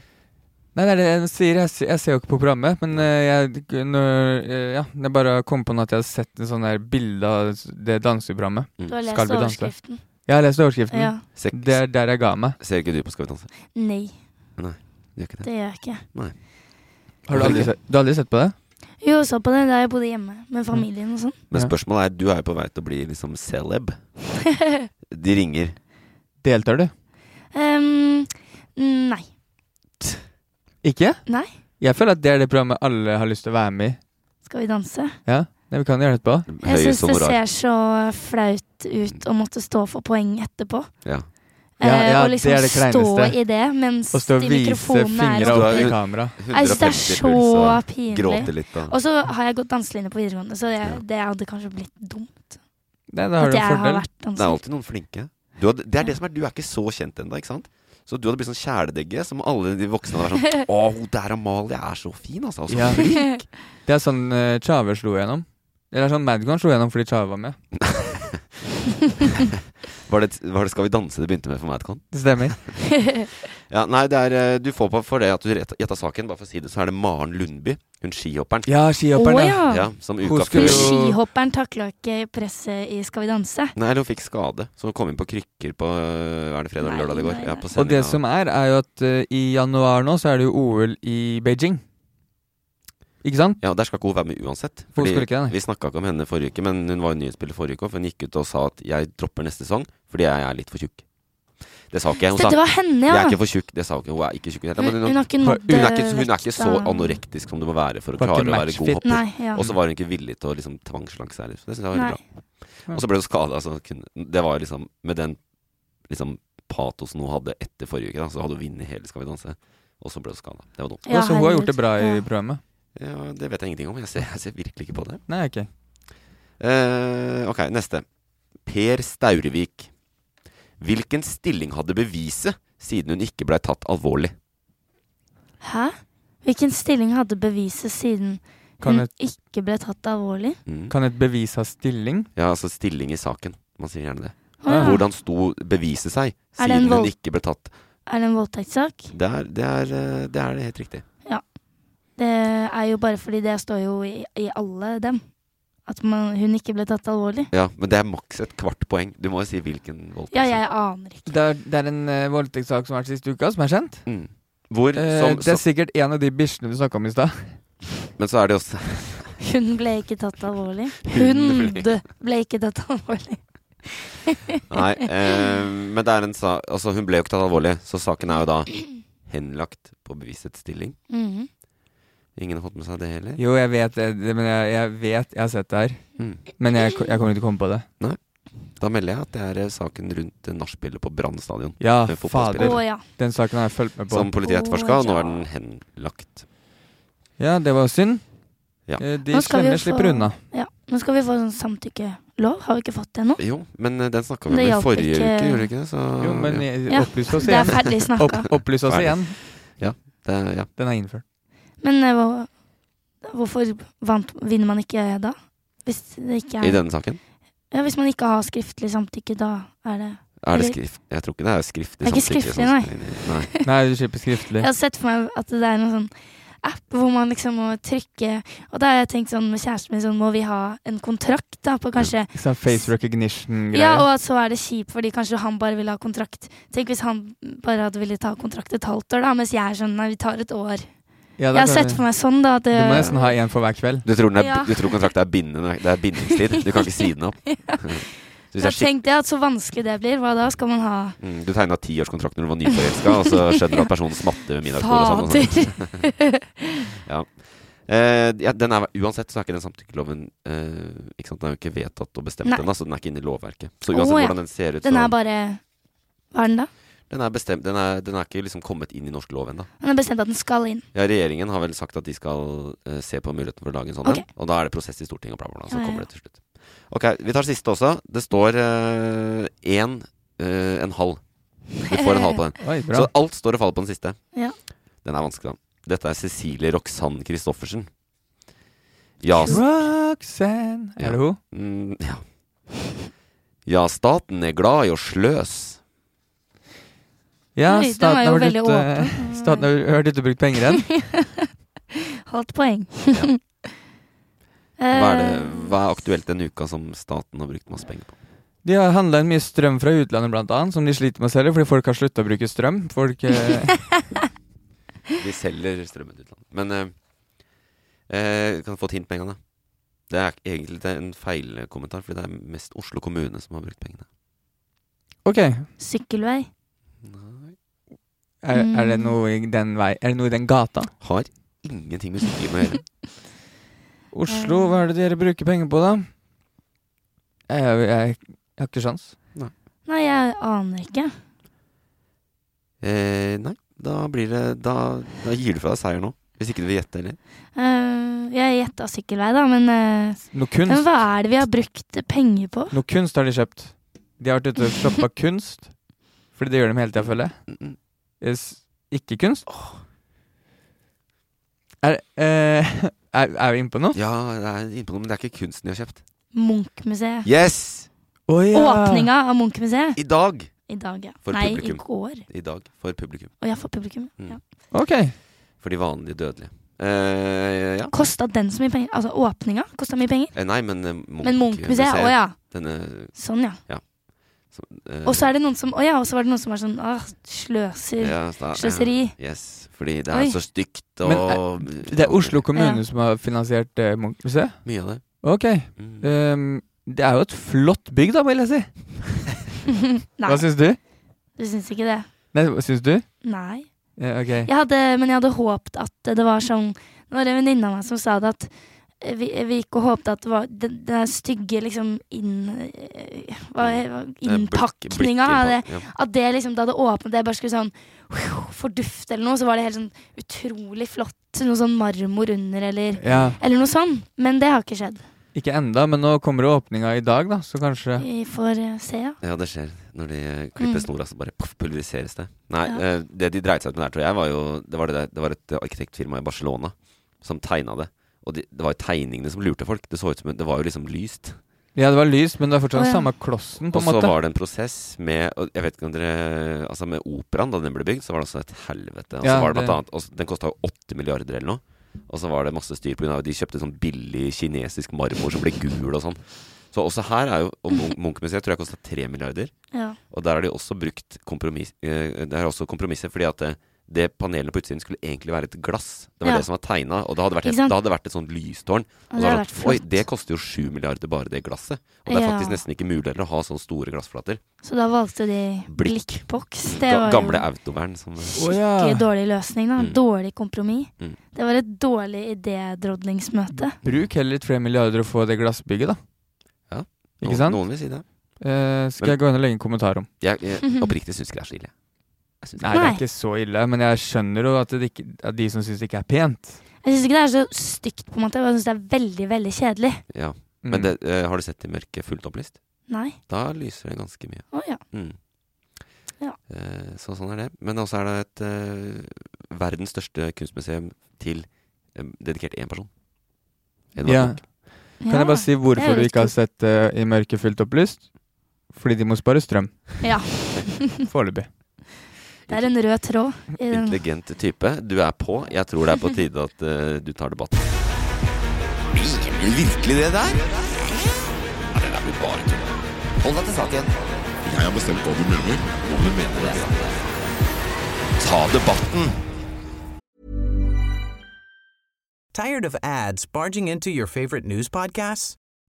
E: Nei, det er det jeg sier. Jeg, se- jeg ser jo ikke på programmet, men eh, jeg når, eh, Ja, jeg bare kom på nå at jeg har sett en sånn der bilde av s- det danseprogrammet.
G: Du har lest
E: Skal vi danse? Mm.
G: overskriften.
E: Jeg har lest overskriften.
G: Ja.
D: Se,
E: Det er der jeg ga meg.
D: Ser ikke du på Skal vi danse?
G: Nei,
D: Gjør ikke det?
G: det gjør jeg ikke.
E: Har du aldri,
D: Veldig.
E: sett- du har aldri sett på det?
G: Jo, jeg så på det da jeg bodde hjemme med familien og sånn.
D: Men
E: Ja.
D: spørsmålet er, du er jo på vei til å bli liksom celeb. De ringer.
E: Deltar du?
G: Ehm, nei.
E: Ikke?
G: Nei.
E: Jeg føler at det er det programmet alle har lyst til å være med i.
G: Skal vi danse?
E: Ja, det vi kan gjøre det etterpå.
G: Jeg syns
D: Høyest
G: det
D: honorar.
G: ser så flaut ut å måtte stå for poeng etterpå.
D: Ja.
E: Ja,
G: Eh,
E: ja,
G: og liksom
E: det er det kleineste.
G: stå i det mens
E: Og stå og
G: de
E: vise
G: mikrofonene
E: fingra
G: er
D: opp
E: opp
G: oppe.
E: i
D: i
E: kamera.
G: Jeg syns det er
D: 150
G: så
D: puls og
G: pinlig.
D: gråte litt. Da.
G: Og så har jeg gått danselinje på videregående, så jeg,
D: Ja.
G: det hadde kanskje blitt dumt.
E: Nei, da har
G: At
E: du
G: jeg
E: en
G: har
E: fordel.
G: vært
D: Det er
G: danser.
D: alltid noen flinke. Du, hadde, det er det som er, du er ikke så kjent ennå, ikke sant? Så du hadde blitt sånn kjæledegge som alle de voksne hadde vært sånn Å, hun der Amalie er så fin, altså. Og så
E: Ja.
D: flink.
E: Det er sånn uh, Tjave slo gjennom. Eller sånn Madcon slo gjennom fordi Tjave var med.
D: Var det, var det Skal vi danse det begynte med for Madcon?
E: Det stemmer.
D: Ja, nei, det er, eh, du får på for det at du rett- gjetta saken. Bare for å si det, så er det Maren Lundby, hun skihopperen,
E: Ja,
G: Å
E: skihopperen, ja.
G: ja!
D: ja, som
E: Hun
D: uka
E: skulle
G: For
D: før
E: jo-
G: skihopperen takla ikke presset i Skal vi danse.
D: Nei, eller hun fikk skade, så hun kom inn på krykker på øh, Er det fredag
G: Nei,
D: eller lørdag det går?
G: nei,
D: Ja,
G: nei.
D: på
E: Og det
D: sendinga.
E: som er, er jo at eh, i januar nå så er det jo OL i Beijing. Ikke sant?
D: Ja, der skal ikke hun være med uansett.
E: Hun
D: Fordi
E: skulle ikke det, nei.
D: Vi snakka ikke om henne forrige uke, men hun var jo nyhetsspiller forrige uke. og Hun gikk ut og sa at 'jeg dropper neste sesong fordi jeg er litt for tjukk'. Det sa ikke jeg. Hun
G: Så dette
D: sa
G: var henne,
D: 'jeg
G: ja!
D: er ikke for tjukk'. Det sa hun ikke. Hun er ikke tjukk i det hele tatt.
G: Hun,
D: Men
G: hun
D: hun,
G: har ikke nådd
D: hun,
G: eh,
D: er ikke, hun er
G: vekta.
D: ikke så anorektisk som du må være for å
E: Var ikke
D: klare å være god
E: matchfit.
D: hopper.
G: Nei, ja.
D: Og så var hun ikke villig til å liksom tvangsslanke seg heller. Så det syns jeg var veldig
G: Nei.
D: bra. Og så ble hun skada. Altså, kunne- det var jo liksom Med den liksom patosen hun hadde etter forrige uke, da, så hadde hun vunnet hele Skal vi danse. Og så ble hun skada. Det var dumt.
E: Ja, så hun har gjort det bra i
G: herregud.
E: programmet.
D: Ja, det vet jeg ingenting om. Jeg ser, jeg ser virkelig ikke på det.
E: Nei, ok.
D: Eh, ok, neste. Per Staurevik. Hvilken stilling hadde beviset siden hun ikke blei tatt alvorlig?
G: Hæ? Hvilken stilling hadde beviset siden
E: Kan
G: hun
E: et,
G: ikke ble tatt alvorlig?
D: Mm.
E: kan et bevis ha stilling?
D: Ja, altså stilling i saken. Man sier gjerne det.
E: Ja.
D: Hvordan sto beviset seg
G: Er det en
D: siden hun
G: vold-
D: ikke ble tatt?
G: Er det en voldtektssak?
D: Det er det, er, eh, det er helt riktig.
G: Det er jo bare fordi det står jo i, i alle dem. At man, hun ikke ble tatt alvorlig.
D: Ja, Men det er maks et kvart poeng. Du må jo si hvilken voldtekt.
G: Ja, jeg aner ikke.
E: Det er, det er en eh, voldtektssak som har vært siste uka, som er kjent.
D: Mm. Hvor,
E: Eh,
D: som,
E: det
D: som,
E: er sikkert en av de bikkjene du snakka om i stad.
D: men så er det også
G: Hun ble ikke tatt alvorlig.
D: Hun
G: Hun
D: ble-
G: ble ikke tatt alvorlig.
D: Nei, eh, men det er en sa... Altså, hun ble jo ikke tatt alvorlig, så saken er jo da henlagt på bevisets stilling.
G: Mhm.
D: Ingen har fått med seg det heller.
E: Jo, jeg vet det, det- men jeg, jeg vet jeg har sett det her.
D: Mm.
E: Men jeg, ko- jeg kommer ikke til å komme på det.
D: Da melder jeg at det er eh, saken rundt eh, nachspielet på Brann stadion.
E: Ja,
D: Det er
G: Å
E: fader.
D: fotballspiller.
G: ja.
E: Den saken har jeg fulgt med på.
D: Som politiet
G: Å,
D: etterforska, og nå
G: ja.
D: er den henlagt.
E: Ja, det var synd.
D: Ja.
E: Eh, De
G: Nå skal vi
E: slemme
G: jo få-
E: slipper unna.
G: ja. Nå skal vi få sånn samtykkelov. Har vi ikke fått det ennå?
D: Jo, men eh, den snakka vi om
G: Det
D: i
G: hjalp
D: forrige
G: ikke.
D: uke, gjorde vi ikke det? Så,
E: Jo, men
D: ja.
E: eh,
G: Ja,
E: opplys oss
G: Det er
E: igjen.
G: ferdig
E: Opp,
G: snakka.
E: opplys oss
D: Ferdig.
E: igjen.
D: Det, er- ja.
E: Den er innført.
G: Men eh, hva- hvorfor vant, vinner man ikke da? Hvis, det ikke
D: I
G: er,
D: denne saken
G: ja, hvis man ikke har skriftlig samtykke, da er det
D: er det
G: Eller-
D: skrift... Jeg tror ikke det er skriftlig
G: Det er ikke
D: samtykke
G: skriftlig,
D: som
G: nei.
D: skal inn i-
E: Nei, du slipper skriftlig.
G: Jeg har sett for meg at det er noen sånn app hvor man liksom må trykke Og da har jeg tenkt sånn med kjæresten min sånn, må vi ha en kontrakt da på kanskje
E: Sånn face recognition-greie.
G: Ja, og at så er det kjipt fordi kanskje han bare ville ha kontrakt. Tenk hvis han bare hadde ville ta kontrakt et halvt år, da, mens jeg er sånn nei, vi tar et år.
E: Ja,
G: Jeg
E: da
G: har
E: kan
G: sett
E: vi-
G: for meg sånn, da. At det,
E: Du må nesten ha én for hver kveld.
D: Du tror, den er,
G: Ja.
D: du tror kontrakten er bindende? Det er bindingstid. Du kan ikke si den opp. Så hvis
G: da
D: jeg skik-
G: tenkte jeg at så vanskelig det blir. Hva da? Skal man ha
D: Mm, du tegna tiårskontrakt når du var nyforelska, og så skjønner du at personen smatter ved middagsbordet. og sånn, og sånn.
G: fader?
D: Eh, ja, den er, uansett så er ikke den samtykkeloven eh, ikke sant? Den er jo ikke vedtatt og bestemt
G: Nei.
D: ennå, så den er ikke inne i lovverket. Så
G: Å,
D: uansett
G: ja.
D: hvordan den ser ut,
G: Den
D: så
G: er bare Hva er den da?
D: den er, bestemt, den, er, den er ikke liksom kommet inn i norsk lov ennå.
G: Den er bestemt at den skal inn.
D: Ja, regjeringen har vel sagt at de skal eh, se på muligheten for å lage en sånn
G: Ok.
D: en. Og da er det prosess i Stortinget og bla, bla, bla. Så
G: Ja, ja,
D: kommer det til slutt. Ok, vi tar siste også. Det står én, en halv. Du får en halv på den.
E: Oi, bra.
D: Så alt står og faller på den siste.
G: Ja.
D: Den er vanskelig, da. Dette er Cecilie Roxanne Christoffersen. Ja, s-
E: Roxanne
D: Ja.
E: Er det hun?
D: mm, ja. ja, staten er glad i å sløs.
E: Ja,
G: Oi, den var
E: staten
G: jo
E: har vært
G: veldig
E: ute
G: åpen.
E: Staten har vært ute og brukt penger igjen.
G: Halvt poeng.
D: Ja. Hva er, det,
G: Eh,
D: hva er aktuelt denne uka som staten har brukt masse penger på?
E: De har handla inn mye strøm fra utlandet, blant annet, som de sliter med å selge fordi folk har slutta å bruke strøm. Folk eh,
D: De selger strømmen til utlandet. Men eh, eh, kan jeg få et hint med en gang, da. Det er egentlig det er en feilkommentar, fordi det er mest Oslo kommune som har brukt pengene.
E: OK.
G: Sykkelvei.
D: Nei.
E: Er, er det noe i den vei Er det noe i den gata?
D: Har ingenting med sykkel å gjøre. Eh.
E: Oslo, hva er det dere bruker penger på, da? Jeg, jeg, jeg har ikke sjans.
G: Nei, jeg aner ikke.
D: Eh, nei, da blir det Da, da gir du fra deg seier nå. Hvis ikke du vil gjette heller.
G: Eh, jeg gjetta sykkelvei, da, men, eh,
E: Noe
G: men
E: kunst,
G: hva er det vi har brukt penger på?
E: noe kunst har de kjøpt. De har vært ute og shoppa kunst. Fordi det gjør de hele tida, føler jeg.
D: Mm, mm.
E: Yes, ikke kunst? Er, eh, er, er vi inne på noe?
D: Ja, det er innpå noe, men det er ikke kunsten de har kjøpt.
G: Munchmuseet.
D: Yes!
G: Åpninga av Munchmuseet
D: I dag.
G: i dag, ja.
D: For
G: Nei,
D: publikum.
G: i går.
D: I dag, for publikum.
G: Og ja, for publikum.
D: Mm.
G: Ja.
E: Ok.
D: For de vanlige dødelige. Eh, ja.
G: Kosta den så mye penger? Altså åpninga kosta mye penger?
D: Eh, nei, men eh, Munch
G: Men Munchmuseet, å ja.
D: Denne
G: Sånn, ja.
D: eh,
G: Og så er det noen som Å ja, og så var det noen som var sånn Åh, sløser.
D: ja, så da-
G: Sløseri.
D: Ja, yes, fordi det er
G: Oi.
D: så stygt
E: Men, eh,
D: og
E: Det er Oslo kommune
G: Ja.
E: som har finansiert eh, Munch-museet.
D: Mye av det.
E: Ok.
D: Mm.
E: ehm, det er jo et flott bygg, da, vil jeg si.
G: Nei,
E: Hva syns du?
G: du syns ikke det?
E: Nei, hva syns du?
G: Nei.
E: Eh, ok.
G: Jeg hadde, men jeg hadde håpet at det var sånn Det var en venninne av meg som sa det at eh, vi, vi gikk og håpet at det var den, den der stygge liksom inn... eh, Hva, hva,
D: Eh, blikk-
G: innpakninga av det.
D: blikkinnpakning, ja.
G: At det liksom, da det åpnet, det bare skulle sånn fordufte eller noe, så var det helt sånn utrolig flott. Noe sånn marmor under eller,
E: Ja.
G: eller noe sånn. Men det har ikke skjedd.
E: Ikke enda, men nå kommer jo åpninga i dag, da, så kanskje
G: Vi får eh, se, ja.
C: Ja, det skjer. Når de eh, klipper
G: Mm.
C: snora, så bare poff, pulveriseres det. Nei,
G: Ja.
C: eh, det de dreit seg ut med der, tror jeg, var jo Det var, det der, det var et eh, arkitektfirma i Barcelona som tegna det. Og de, det var jo tegningene som lurte folk. Det så ut som Det var jo liksom lyst.
E: Ja, det var lyst, men det er fortsatt
G: Å, ja.
E: samme klossen, på
C: Og
E: en
C: så
E: måte.
C: var det en prosess med og Jeg vet ikke om dere Altså, med operaen, da den ble bygd, så var det også et helvete. Og så
E: Ja,
C: var det
E: det-
C: blant annet og s- Den kosta jo 8 milliarder eller noe. Og så var det masse styr pga. de kjøpte sånn billig kinesisk marmor som ble gul og sånn. Så også her er jo Og Munch- Munch-museet tror jeg kosta 3 milliarder.
G: ja.
C: Og der har de også brukt kompromiss, eh, det er også kompromisset, fordi at det, det panelet på utsiden skulle egentlig være et glass. Det var
G: Ja.
C: det som var tegna, og da hadde, det vært et,
G: Ikke sant?
C: da hadde det vært et sånt lystårn. Og så
G: Og det
C: har
G: har
C: det
G: vært
C: vært, Oi,
G: flott.
C: det koster jo sju milliarder bare det glasset. Og det er
G: Ja.
C: faktisk nesten ikke mulig heller å ha sånne store glassflater.
G: Så da valgte de
C: Blikk.
G: blikkboks. Det
C: Ga,
G: var jo
C: gamle autovern som eh,
E: Å, ja.
G: ikke dårlig løsning, da.
C: Mm.
G: Dårlig kompromiss.
C: Mm.
G: Det var et dårlig idédrodlingsmøte.
E: Bruk heller tre milliarder og få det glassbygget, da.
C: Ja.
E: Ikke sant?
C: Noen vil si det.
E: Eh, skal
C: Men-
E: jeg gå inn og legge en kommentar om?
C: Jeg,
G: Mhm.
C: jeg oppriktig syns ikke det er så ille. Jeg synes
E: Nei,
C: det
E: det
G: Nei.
E: er ikke så ille, men jeg skjønner jo at, det ikke, at de som syns det ikke er pent
G: Jeg syns ikke det er så stygt, på en måte. Jeg syns det er veldig, veldig kjedelig.
C: er- ja.
E: Mm.
C: Men det, eh, har du sett i mørket fullt opplist?
G: Nei.
C: Da lyser det ganske mye.
G: Å ja.
C: Mm.
G: Ja.
C: Eh, Så sånn er det. Men også er det et eh, verdens største kunstmuseum til eh, dedikert én person. Edvard
E: Ja.
C: Munch.
E: Kan jeg bare si
G: Det er jo
E: hvorfor du
G: litt
E: ikke har
G: kult.
E: sett eh, I mørket fullt opplyst? Fordi de må spare strøm.
G: Ja.
E: Foreløpig.
G: Det er en rød tråd i den
C: Intelligent type. Du er på. Jeg tror det er på tide at eh, du tar debatten.
D: Liker du virkelig det der? Nei, det der blir bare tull. Hold deg til saken. Jeg har bestemt hva du mener. Om du mener det. Ta debatten.
H: Tired of ads barging into your favorite news podcasts?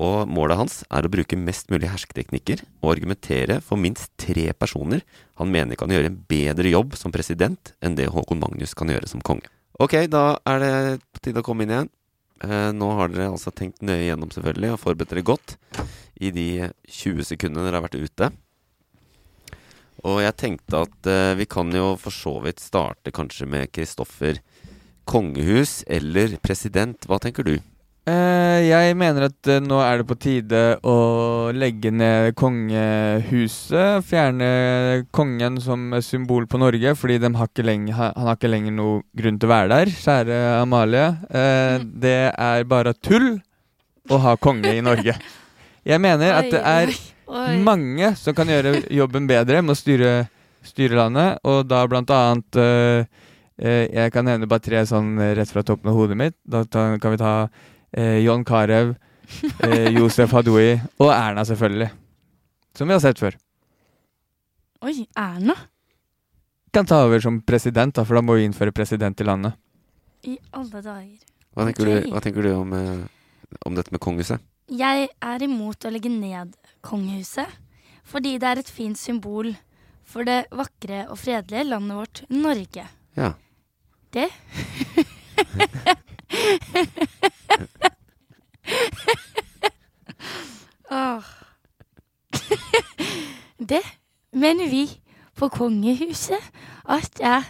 C: Og målet hans er å bruke mest mulig hersketeknikker og argumentere for minst tre personer han mener kan gjøre en bedre jobb som president enn det Håkon Magnus kan gjøre som konge. Ok, da er det på tide å komme inn igjen. Eh, nå har dere altså tenkt nøye gjennom selvfølgelig og forberedt dere godt i de 20 sekundene dere har vært ute. Og jeg tenkte at eh, vi kan jo for så vidt starte kanskje med Kristoffer. Kongehus eller president, hva tenker du?
E: Eh, jeg mener at eh, nå er det på tide å legge ned kongehuset. Fjerne kongen som symbol på Norge, fordi dem har ikke lenge, ha- han har ikke lenger noe grunn til å være der, kjære Amalie. Eh, det er bare tull å ha konge i Norge. Jeg mener at det er
G: Oi.
E: mange som kan gjøre jobben bedre med å styre, styre landet, og da blant annet eh, eh, Jeg kan nevne bare tre sånn eh, rett fra toppen av hodet mitt. Da ta, kan vi ta eh, John Carew, eh, Josef Hadoui og Erna, selvfølgelig. Som vi har sett før.
G: Oi, Erna?
E: Kan ta over som president, da, for da må vi innføre president i landet.
G: I alle dager.
D: Hva tenker,
G: Ok.
D: du, hva tenker du om, eh, om dette med kongehuset?
G: Jeg er imot å legge ned kongehuset, fordi det er et fint symbol for det vakre og fredelige landet vårt, Norge.
D: Ja.
G: Det? Åh. det mener vi på kongehuset at er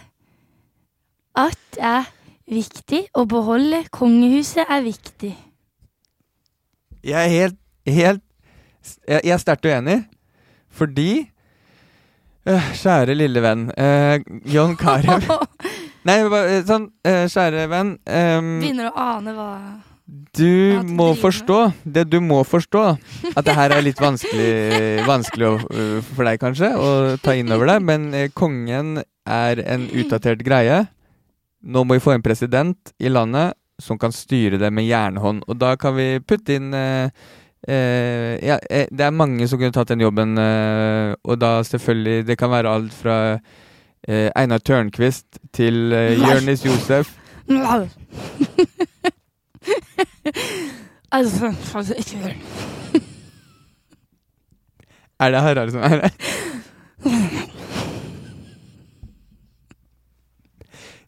G: at er viktig. Å beholde kongehuset er viktig.
E: Jeg er helt, helt Jeg jeg er sterkt uenig, fordi øh, Kjære lille venn. øh, John Carew Nei, bare, øh, sånn øh, Kjære venn. ehm,
G: Begynner å ane hva
E: du
G: Ja, du
E: må
G: driver med.
E: forstå Det du må forstå, at det her er litt vanskelig, vanskelig å, øh, for deg, kanskje, å ta inn over deg, men øh, kongen er en utdatert greie. Nå må vi få en president i landet som kan styre det med jernhånd. Og da kan vi putte inn eh, eh, ja, eh, Det er mange som kunne tatt den jobben, eh, og da selvfølgelig Det kan være alt fra eh, Einar Tørnquist til eh,
G: Nei.
E: Jonis Josef.
G: Altså, altså ikke hør.
E: Er det Harald som er her?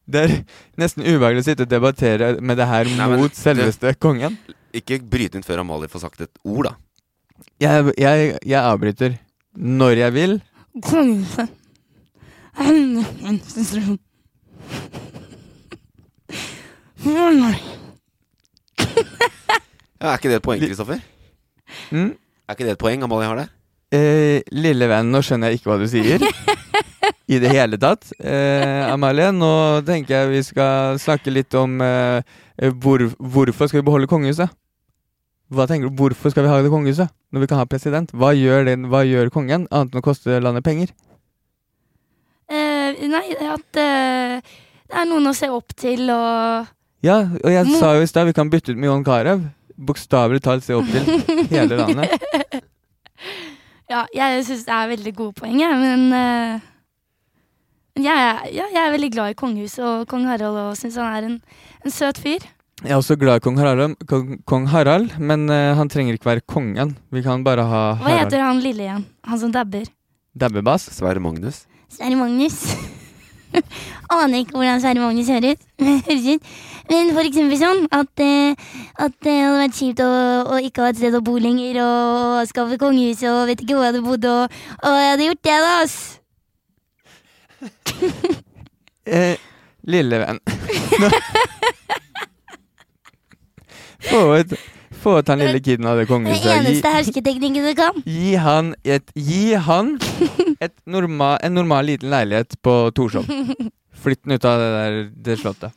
E: Det er nesten ubehagelig å sitte og debattere med det her
D: Nei, men
E: mot
D: det-
E: selveste kongen.
D: Ikke bryte inn før Amalie får sagt et ord, da.
E: Jeg, jeg, jeg avbryter når jeg vil.
G: Kongehuset er en institusjon. For Norge.
D: Ja, er ikke det et poeng, Kristoffer?
E: Mm.
D: Er ikke det et poeng Amalie har der?
E: Eh, lille venn, nå skjønner jeg ikke hva du sier. I det hele tatt. Eh, Amalie, nå tenker jeg vi skal snakke litt om eh, hvor, hvorfor skal vi beholde kongehuset? Hva tenker du, Hvorfor skal vi ha det kongehuset når vi kan ha president? Hå gjør, den, hva gjør kongen, annet enn å koste landet penger?
G: Eh, nei, at eh, det er noen å se opp til og
E: Ja, og jeg sa jo i stad vi kan bytte ut med John Carew. Bokstavelig talt se opp til hele landet.
G: Ja, jeg syns det er veldig gode poeng, jeg, men eh, men jeg, er- ja, jeg er veldig glad i kongehuset og kong Harald og syns han er en, en søt fyr.
E: Jeg er også glad i kong Harald, kong, kong Harald men eh, han trenger ikke være kongen. Vi kan bare ha
G: Hva
E: Harald
G: heter han lille igjen? Han som dabber?
E: Dabbebass.
D: Sverre Magnus?
G: Sverre Magnus. Aner ikke hvordan Sverre Magnus hører ut. høres ut. Men for eksempel sånn at, eh, at det hadde vært kjipt å, å ikke ha et sted å bo lenger, og avskaffe kongehuset, og vet ikke hvor jeg hadde bodd, og, og jeg hadde gjort det, da, ass.
E: Eh, lille venn. Nå- få, ut, få ut han lille kiden av Mm, det
G: Det
E: kongehuset.
G: er den
E: Gi,
G: eneste hersketeknikken du kan.
E: gi han, et, gi han et norma, en normal liten leilighet på Torshov. Flytt den ut av det der det slottet.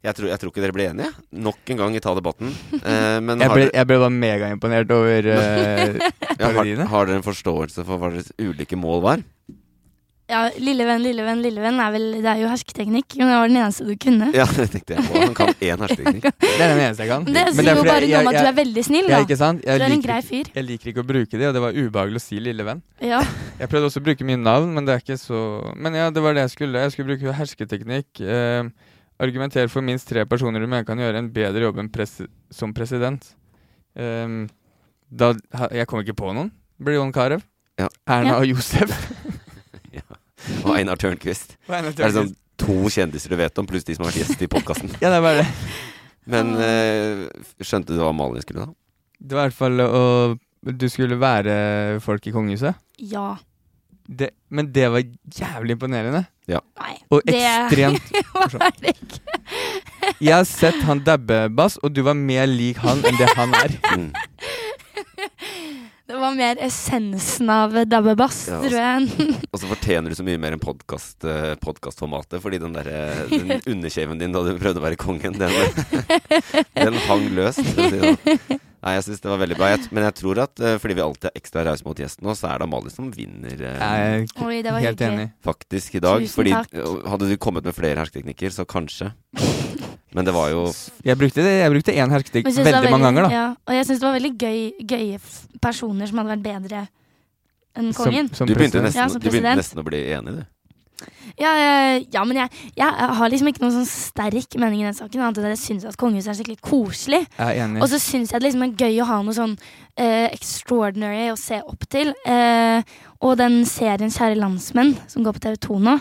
D: Jeg tror, jeg tror ikke dere ble enige. Nok en gang i Ta debatten. Eh, men
E: Jeg
D: har,
E: ble,
D: dere-
E: jeg ble bare megaimponert over eh,
D: ja, har,
E: parodiene.
D: har dere en forståelse for hva deres ulike mål var?
G: Ja, lille venn, lille venn, lille venn er vel, det er jo hersketeknikk, men det var den eneste du kunne.
D: Ja, det tenkte jeg. Å, han kan én hersketeknikk.
E: Det er den eneste jeg kan.
G: Det
E: Men
G: sier jo
E: fordi
G: bare noe om at du
E: jeg,
G: er veldig snill,
E: jeg, jeg,
G: da.
E: ikke sant? Jeg
G: Du er en
E: liker,
G: grei
E: ikke-
G: fyr.
E: jeg liker ikke å bruke det, og det var ubehagelig å si 'lille venn'.
G: Ja.
E: Jeg prøvde også å bruke mine navn, men det er ikke så Men ja, det var det jeg skulle. Jeg skulle bruke hersketeknikk. Eh, argumentere for minst tre personer du mener kan gjøre en bedre jobb enn pres som president. Eh, da ha- Jeg kom ikke på noen. Blir John Carew.
D: Ja.
E: Erna
G: Ja.
E: og Josef.
D: Og Einar Tørnquist. Det er liksom to kjendiser du vet om, pluss de som har vært gjest i podkasten.
E: Ja, det var det.
D: Men eh, skjønte du hva Amalie skulle da?
E: Det var i hvert fall å Du skulle være folk i kongehuset.
G: Ja.
E: Det, men det var jævlig imponerende.
G: Nei,
E: Og
G: det
E: ekstremt
G: var det ikke.
E: Jeg har sett han dabbe bass, og du var mer lik han enn det han er.
D: Mm.
G: Det var mer essensen av dabbebass,
D: Ja,
G: tror jeg.
D: Og så fortjener du så mye mer enn podkast, eh, podkastformatet, fordi den derre den underkjeven din da du prøvde å være kongen, den, den hang løs. for å si det sånn. Nei, jeg syns det var veldig bra. Jeg, t- men jeg tror at eh, fordi vi alltid er ekstra rause mot gjesten nå, så er det Amalie som vinner eh,
E: Jeg er
G: Oi, det var
E: helt
G: hyggelig.
E: enig.
D: faktisk i dag.
G: Tusen
D: fordi
G: takk.
D: eh, hadde du kommet med flere hersketeknikker, så kanskje.
C: Men det var jo
E: Jeg brukte det, jeg brukte én hersketeknikk
G: Men jeg synes
E: veldig,
G: det var
E: mange ganger, da.
G: Ja, og jeg syns det var veldig gøy, gøye f- personer som hadde vært bedre enn kongen.
E: som
C: Du begynte
E: president.
C: nesten,
G: Ja, som
C: du begynte
G: president.
C: nesten å bli enig, du.
G: Ja, eh, ja, men jeg, jeg har liksom ikke noen sånn sterk mening i den saken, annet enn at jeg syns at kongehuset er skikkelig koselig.
E: Jeg er enig.
G: Og så syns jeg det liksom er gøy å ha noe sånn eh, extraordinary å se opp til. Eh, og den serien Kjære landsmenn som går på TV2 nå.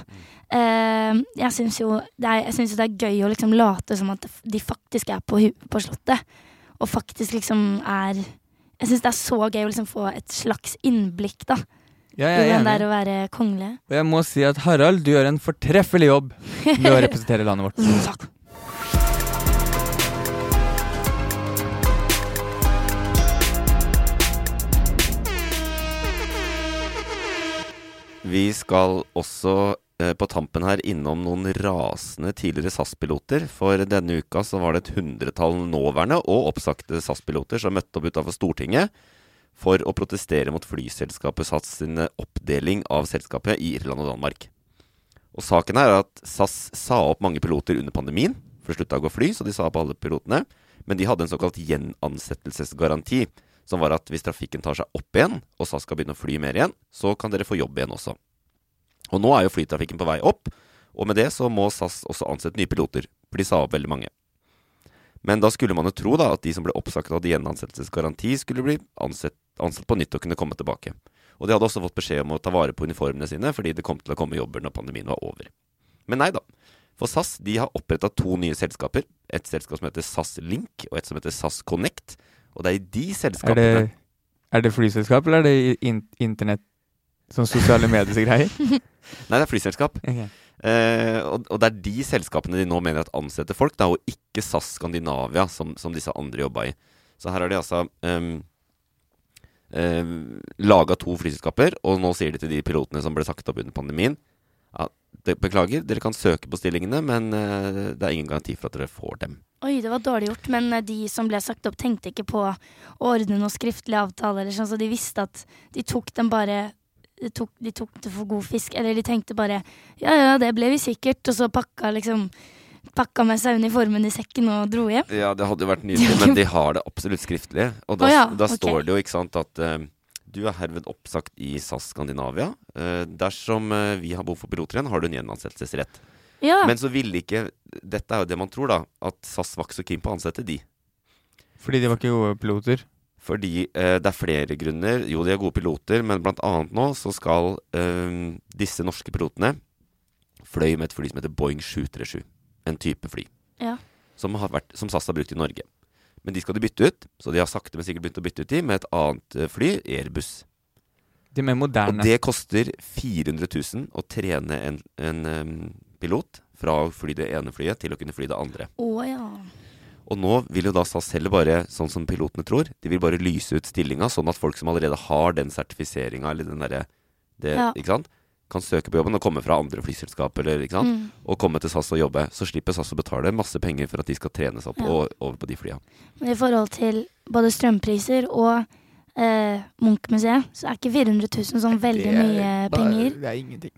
G: eh, jeg syns jo, det er- jeg synes jo det er gøy å liksom late som at de faktisk er på, hu- på Slottet. Og faktisk liksom er Jeg syns det er så gøy å liksom få et slags innblikk da
E: ja,
G: i
E: jeg er
G: hvordan det er
E: enig.
G: å være kongelig.
E: Og jeg må si at Harald, du gjør en fortreffelig jobb med å representere landet vårt.
G: Takk.
C: Vi skal også eh, på tampen her innom noen rasende tidligere SAS-piloter. For denne uka så var det et hundretall nåværende og oppsagte SAS-piloter som møtte opp utafor Stortinget for å protestere mot flyselskapet SAS sin eh, oppdeling av selskapet i Irland og Danmark. Og saken her er at SAS sa opp mange piloter under pandemien, for det slutta å gå fly, så de sa opp alle pilotene. Men de hadde en såkalt gjenansettelsesgaranti, som var at hvis trafikken tar seg opp igjen, og SAS skal begynne å fly mer igjen, så kan dere få jobb igjen også. Og nå er jo flytrafikken på vei opp, og med det så må SAS også ansette nye piloter, for de sa opp veldig mange. Men da skulle man jo tro da at de som ble oppsagt og hadde gjenansettelsesgaranti, skulle bli ansett, ansatt på nytt og kunne komme tilbake. Og de hadde også fått beskjed om å ta vare på uniformene sine, fordi det kom til å komme jobber når pandemien var over. Men nei da. For SAS de har oppretta to nye selskaper. Et selskap som heter SAS Link, og et som heter SAS Connect. Og det er i de
E: Er
C: selskapene
E: det, er det flyselskap, eller er det in internett? Sånn sosiale medier og greier?
C: Nei, det er flyselskap.
E: Ok.
C: Eh, og, og det er de selskapene de nå mener at ansetter folk, da, og ikke SAS Skandinavia, som, som disse andre jobba i. Så her har de altså um, laga to flyselskaper, og nå sier de til de pilotene som ble sagt opp under pandemien at de, beklager, dere kan søke på stillingene, men eh, det er ingen garanti for at dere får dem.
G: Oi, det var dårlig gjort, men eh, de som ble sagt opp, tenkte ikke på å ordne noen skriftlig avtale, eller sånn, så de visste at de tok den bare de tok, de tok det for god fisk, eller de tenkte bare ja ja, det ble vi sikkert, og så pakka liksom pakka med seg uniformen i sekken og dro hjem.
C: Ja, det hadde jo vært nydelig, men de har det absolutt skriftlig. Og da,
G: Å ja,
C: da
G: ok.
C: står det jo, ikke sant, at eh, du er herved oppsagt i SAS Skandinavia. Eh, dersom eh, vi har behov for piloter igjen, har du en gjenansettelsesrett.
G: Ja,
C: Men så ville ikke Dette er jo det man tror, da. At SAS var ikke så keen på å ansette de.
E: Fordi de var ikke gode piloter.
C: Fordi eh, det er flere grunner. Jo, de er gode piloter, men blant annet nå så skal eh, disse norske pilotene fløy med et fly som heter Boeing 737. En type fly.
G: Ja.
C: Som, har vært, som SAS har brukt i Norge. Men de skal de bytte ut, så de har sakte, men sikkert begynt å bytte ut de med et annet eh, fly, Airbus.
E: De mer
C: Og
E: moderne.
C: det koster 400 000 å trene en, en eh, pilot fra å fly det ene flyet til å kunne fly det andre.
G: å ja.
C: Og nå vil jo da SAS heller bare, sånn som pilotene tror, de vil bare lyse ut stillinga, sånn at folk som allerede har den sertifiseringa eller den derre det,
G: Ja.
C: Ikke sant? Kan søke på jobben og komme fra andre flyselskap eller ikke sant?
G: Mm.
C: Og komme til SAS og jobbe. Så slipper SAS å betale masse penger for at de skal trene seg opp
G: Ja.
C: og over på de flya.
G: Men i forhold til både strømpriser og eh, Munch-museet, så er ikke 400 000 sånn veldig mye penger.
E: Det er ingenting.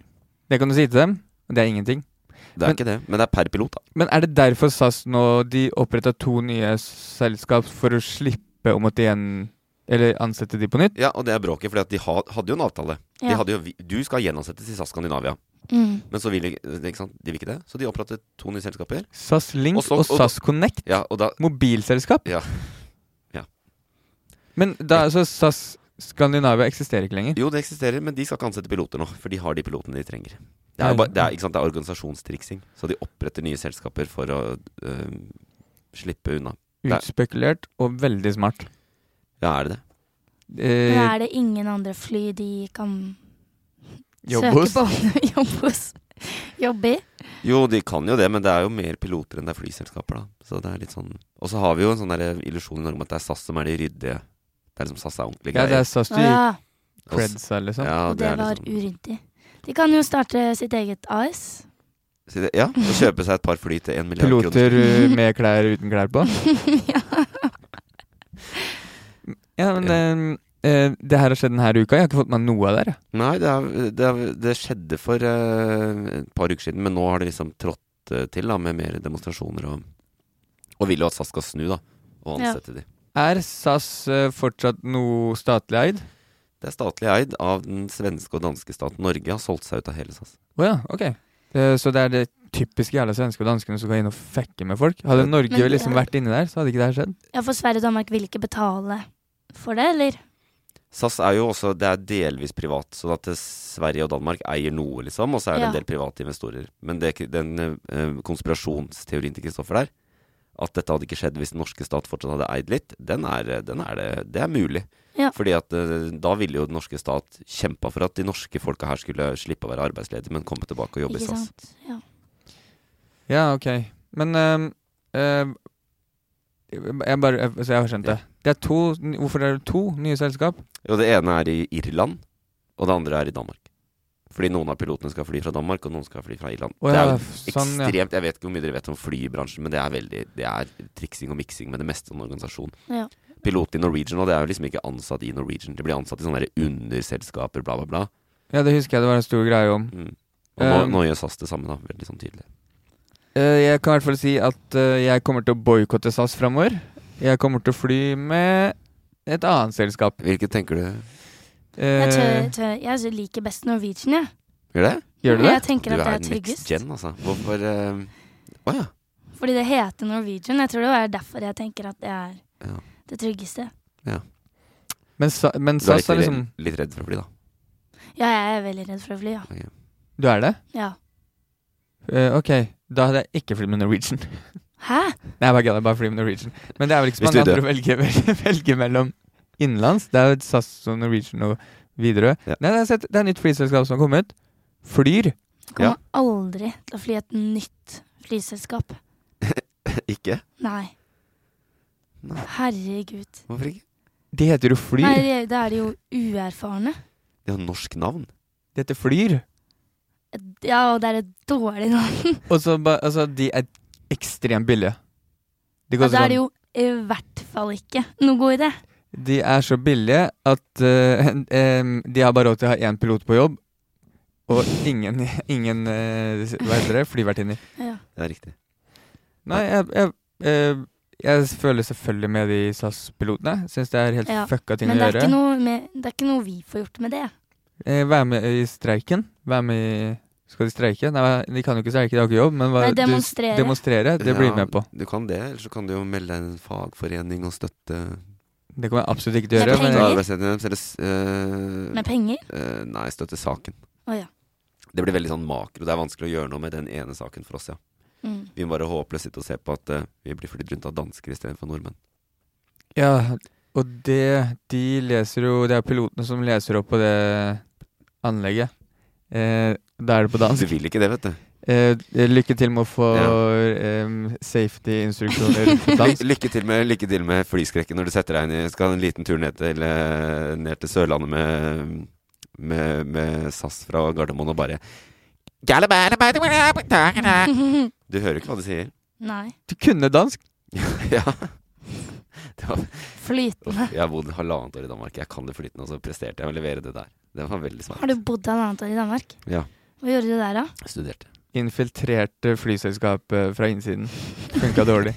E: Det kan du si til dem. Det er ingenting.
C: Det er
E: Men-
C: ikke det, men det er per pilot, da.
E: Men er det derfor SAS nå De oppretta to nye selskap for å slippe å måtte igjen Eller ansette de på nytt?
C: Ja, og det er bråket, for de ha, hadde jo en avtale. De
G: Ja.
C: hadde jo, vi- du skal gjenansettes i SAS Skandinavia.
G: Mm.
C: Men så vil de ikke sant? De vil ikke det, så de opprettet to nye selskaper.
E: SAS Link
C: Og
E: og,
C: så- og-
E: SAS Connect.
C: Ja, og da
E: Mobilselskap.
C: Ja. Ja.
E: Men da altså SAS Skandinavia eksisterer ikke lenger.
C: Jo, det eksisterer, men de skal ikke ansette piloter nå, for de har de pilotene de trenger. Det er, jo
E: Nei.
C: bare, det er, ikke sant? Det er organisasjonstriksing, så de oppretter nye selskaper for å øhm, slippe unna. Nei.
E: Utspekulert og veldig smart.
C: Ja, er det det?
E: Eh,
G: Men er det ingen andre fly de kan
E: Jobb
G: søke
E: hos?
G: på? Jobb hos? Jobbe i?
C: Jo, de kan jo det, men det er jo mer piloter enn det er flyselskaper, da. Så det er litt sånn Og så har vi jo en sånn der illusjon i Norge om at det er SAS som er de ryddige. Det er liksom SAS er ordentlige
E: ja, det
C: greier.
E: er SAS du
G: Å ja,
C: Og s-
E: creds eller sånn.
C: Ja,
G: og
C: det
G: det
C: er
G: var
C: liksom
G: uryddig. De kan jo starte sitt eget AS.
C: Så det- Ja, og kjøpe seg et par fly til en milliard
E: Piloter
C: kroner.
E: uh, med klær uten klær på.
G: ja.
E: Ja, men eh, eh, det her har skjedd denne uka. Jeg har ikke fått med meg noe av det. her, jeg.
C: Nei, det, er, det, er, det skjedde eh, for øh, et par uker siden, men nå har det liksom trådt øh, til da, med mer demonstrasjoner og Og vil jo at SAS skal snu, da. Og
G: Ja.
C: ansette de.
E: Er SAS eh, fortsatt noe statlig eid?
C: Det er statlig eid av den svenske og danske staten. Norge har solgt seg ut av hele SAS.
E: Å ja, ok. Eh, Så det er det typiske jævla svenske og danskene som går inn og fekker med folk? Hadde Norge
G: Men-
E: liksom vært inni der, så hadde ikke det her skjedd.
G: Ja, for Sverige og Danmark vil ikke betale for det, eller?
C: SAS er jo også det er delvis privat, sånn at eh, Sverige og Danmark eier noe, liksom. Og så er det en
G: Ja.
C: del private investorer. Men det, er ikke- den eh, konspirasjonsteorien til Kristoffer der, at dette hadde ikke skjedd hvis den norske stat fortsatt hadde eid litt, den er, eh, den er det, det er mulig.
G: Ja.
C: Fordi at eh, da ville jo den norske stat kjempa for at de norske folka her skulle slippe å være arbeidsledige, men komme tilbake og jobbe i
G: Ikke
C: SAS.
G: sant? Ja.
E: Ja, ok. Men ehm, ehm, jeg bare jeg, Så jeg har skjønt det. Det er to Hvorfor er det to nye selskap?
C: Jo, det ene er i Irland, og det andre er i Danmark. Fordi noen av pilotene skal fly fra Danmark, og noen skal fly fra Irland.
E: Å
C: det
E: ja,
C: er jo
E: f- sånn, ja.
C: ekstremt Jeg vet ikke hvor mye dere vet om flybransjen, men det er veldig Det er triksing og miksing med det meste om organisasjon.
G: Ja.
C: Pilot i Norwegian, og det er jo liksom ikke ansatt i Norwegian. De blir ansatt i sånne der underselskaper, bla, bla, bla.
E: Ja, det husker jeg det var en stor greie om.
C: Mm. Og nå,
E: Um,
C: nå gjør SAS det samme, da. Veldig sånn tydelig.
E: Eh, jeg kan i hvert fall si at eh, jeg kommer til å boikotte SAS framover. Jeg kommer til å fly med et annet selskap.
C: Hvilket tenker du
G: Jeg, tør,
E: Eh,
G: tør, jeg så liker best Norwegian, jeg.
C: Gjør det?
E: gjør du det?
G: Jeg
C: du
G: tenker at
C: er
G: det er
C: next
G: tryggest.
C: gen, altså. Hvorfor eh, Å ja.
G: Fordi det heter Norwegian. Jeg tror det er derfor jeg tenker at det er
C: Ja.
G: det tryggeste.
E: Men, sa, men
C: Du er litt,
E: SAS er liksom
C: redd- litt redd for å bli, da.
G: Ja, jeg er veldig redd for å fly, ja.
E: Du er det?
G: ja.
E: Eh, ok, da hadde jeg ikke flydd med Norwegian.
G: Hæ?
E: Nei, jeg bare gønner, bare fly med Norwegian. Men det er vel ikke så
C: Hvis
E: mange
C: du
E: andre å velge, velge, velge mellom innenlands. Det er jo SAS og Norwegian og Widerøe.
C: Ja.
E: Nei, det er, sett, det er nytt flyselskap som har kommet. Flyr.
G: Jeg kommer aldri til å fly et nytt flyselskap.
C: ikke?
G: Nei.
C: Nei.
G: Herregud.
C: Hvorfor ikke?
E: Det heter jo
G: Nei,
E: Flyr.
G: det- da er de jo uerfarne.
C: De har norsk navn.
E: Det heter Flyr.
G: Ja, og det er et dårlig navn.
E: Og så ba, altså, de er ekstremt billige. De,
G: Ja,
E: koster
G: det er det
E: sånn-
G: jo i hvert fall ikke noe god idé.
E: de er så billige at eh, em, de har bare råd til å ha én pilot på jobb. Og ingen, ingen eh, hva heter det, flyvertinner.
G: Ja.
C: Det er riktig.
E: Nei, jeg, jeg, eh, jeg føler selvfølgelig med de SAS-pilotene. Syns det er helt
G: Ja,
E: fucka ting å
G: Men det er,
E: gjøre.
G: ikke noe med, det er ikke noe vi får gjort med det.
E: Eh, Være med i streiken. Være med i Skal de streike? Nei, de kan jo ikke streike, de har ikke jobb, men hva,
G: Nei,
E: du-
G: demonstrere.
E: demonstrere. Det blir vi med på.
C: Du kan det, eller så kan du jo melde deg i en fagforening og støtte
E: Det kommer jeg absolutt ikke til å
G: Med
E: gjøre. Men
G: penger?
E: jeg,
C: Arbeidsretten deres, Eller
G: Med
C: eh,
G: penger.
C: eh, Nei, støtte saken.
G: Å ja.
C: Det blir veldig sånn makro. Det er vanskelig å gjøre noe med den ene saken for oss, ja.
G: Mm.
C: Vi må bare håpløst sitte og se på at eh, vi blir flydd rundt av dansker istedenfor nordmenn.
E: ja, og det De leser jo Det er pilotene som leser opp på det anlegget. Eh, da er det på
C: Du
E: dansk.
C: vil ikke det, vet du.
E: Eh, lykke til med å få
C: Ja.
E: em, safety-instruksjoner på dansk.
C: Lykke til med, lykke til med flyskrekken når du setter deg inn i Skal ha en liten tur ned til, eh, ned til Sørlandet med, med, med SAS fra Gardermoen og bare Du hører jo ikke hva de sier.
G: Nei.
E: Du kunne dansk!
C: ja. Det var,
G: Flytende.
C: jeg har bodd halvannet år i Danmark. Jeg kan det flytende, og så presterte jeg å levere det der. Det var veldig smart.
G: Har du bodd et annet år i Danmark?
C: Ja.
G: Hva gjorde du der, da?
C: Studerte.
E: Infiltrerte flyselskapet fra innsiden. Funka dårlig.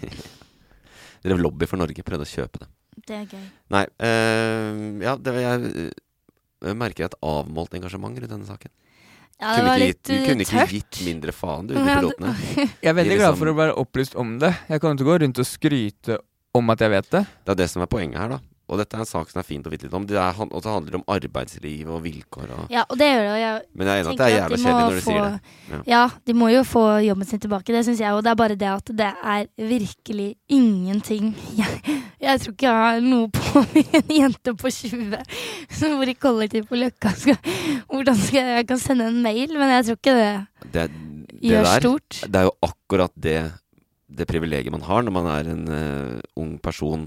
C: Drev lobby for Norge, prøvde å kjøpe det.
G: Det er gøy.
C: Nei, eh, ja, det, jeg eh, merker et avmålt engasjement rundt denne saken.
G: Ja, det
C: kunne
G: var
C: ikke
G: litt
C: gitt, du kunne
G: eh,
C: ikke
G: tørt.
C: gitt mindre faen, du, de
G: Ja, det-
C: pilotene.
E: Jeg er veldig
C: Gi
E: glad
C: liksom-
E: for å være opplyst om det. Jeg kommer til å gå rundt og skryte om at jeg vet det.
C: Det er det som er poenget her, da. Og dette er en sak som er fint å vite litt om. Det er, han- og det handler om arbeidsliv og vilkår og
G: Ja, og det gjør det. Og jeg
C: Men jeg er enig i at det
G: tenker
C: er
G: de
C: jævla kjedelig
G: må
C: når du
G: få,
C: sier det.
G: Ja. de må jo få jobben sin tilbake, det syns jeg. Og det er bare det at det er virkelig ingenting Jeg, jeg tror ikke jeg har noe på meg en jente på 20 som bor i kollektiv på Løkka. Skal, hvordan skal jeg, jeg kan sende en mail, men jeg tror ikke det
C: Det, det
G: gjør
C: der
G: stort.
C: Det er jo akkurat det, det privilegiet man har når man er en eh, ung person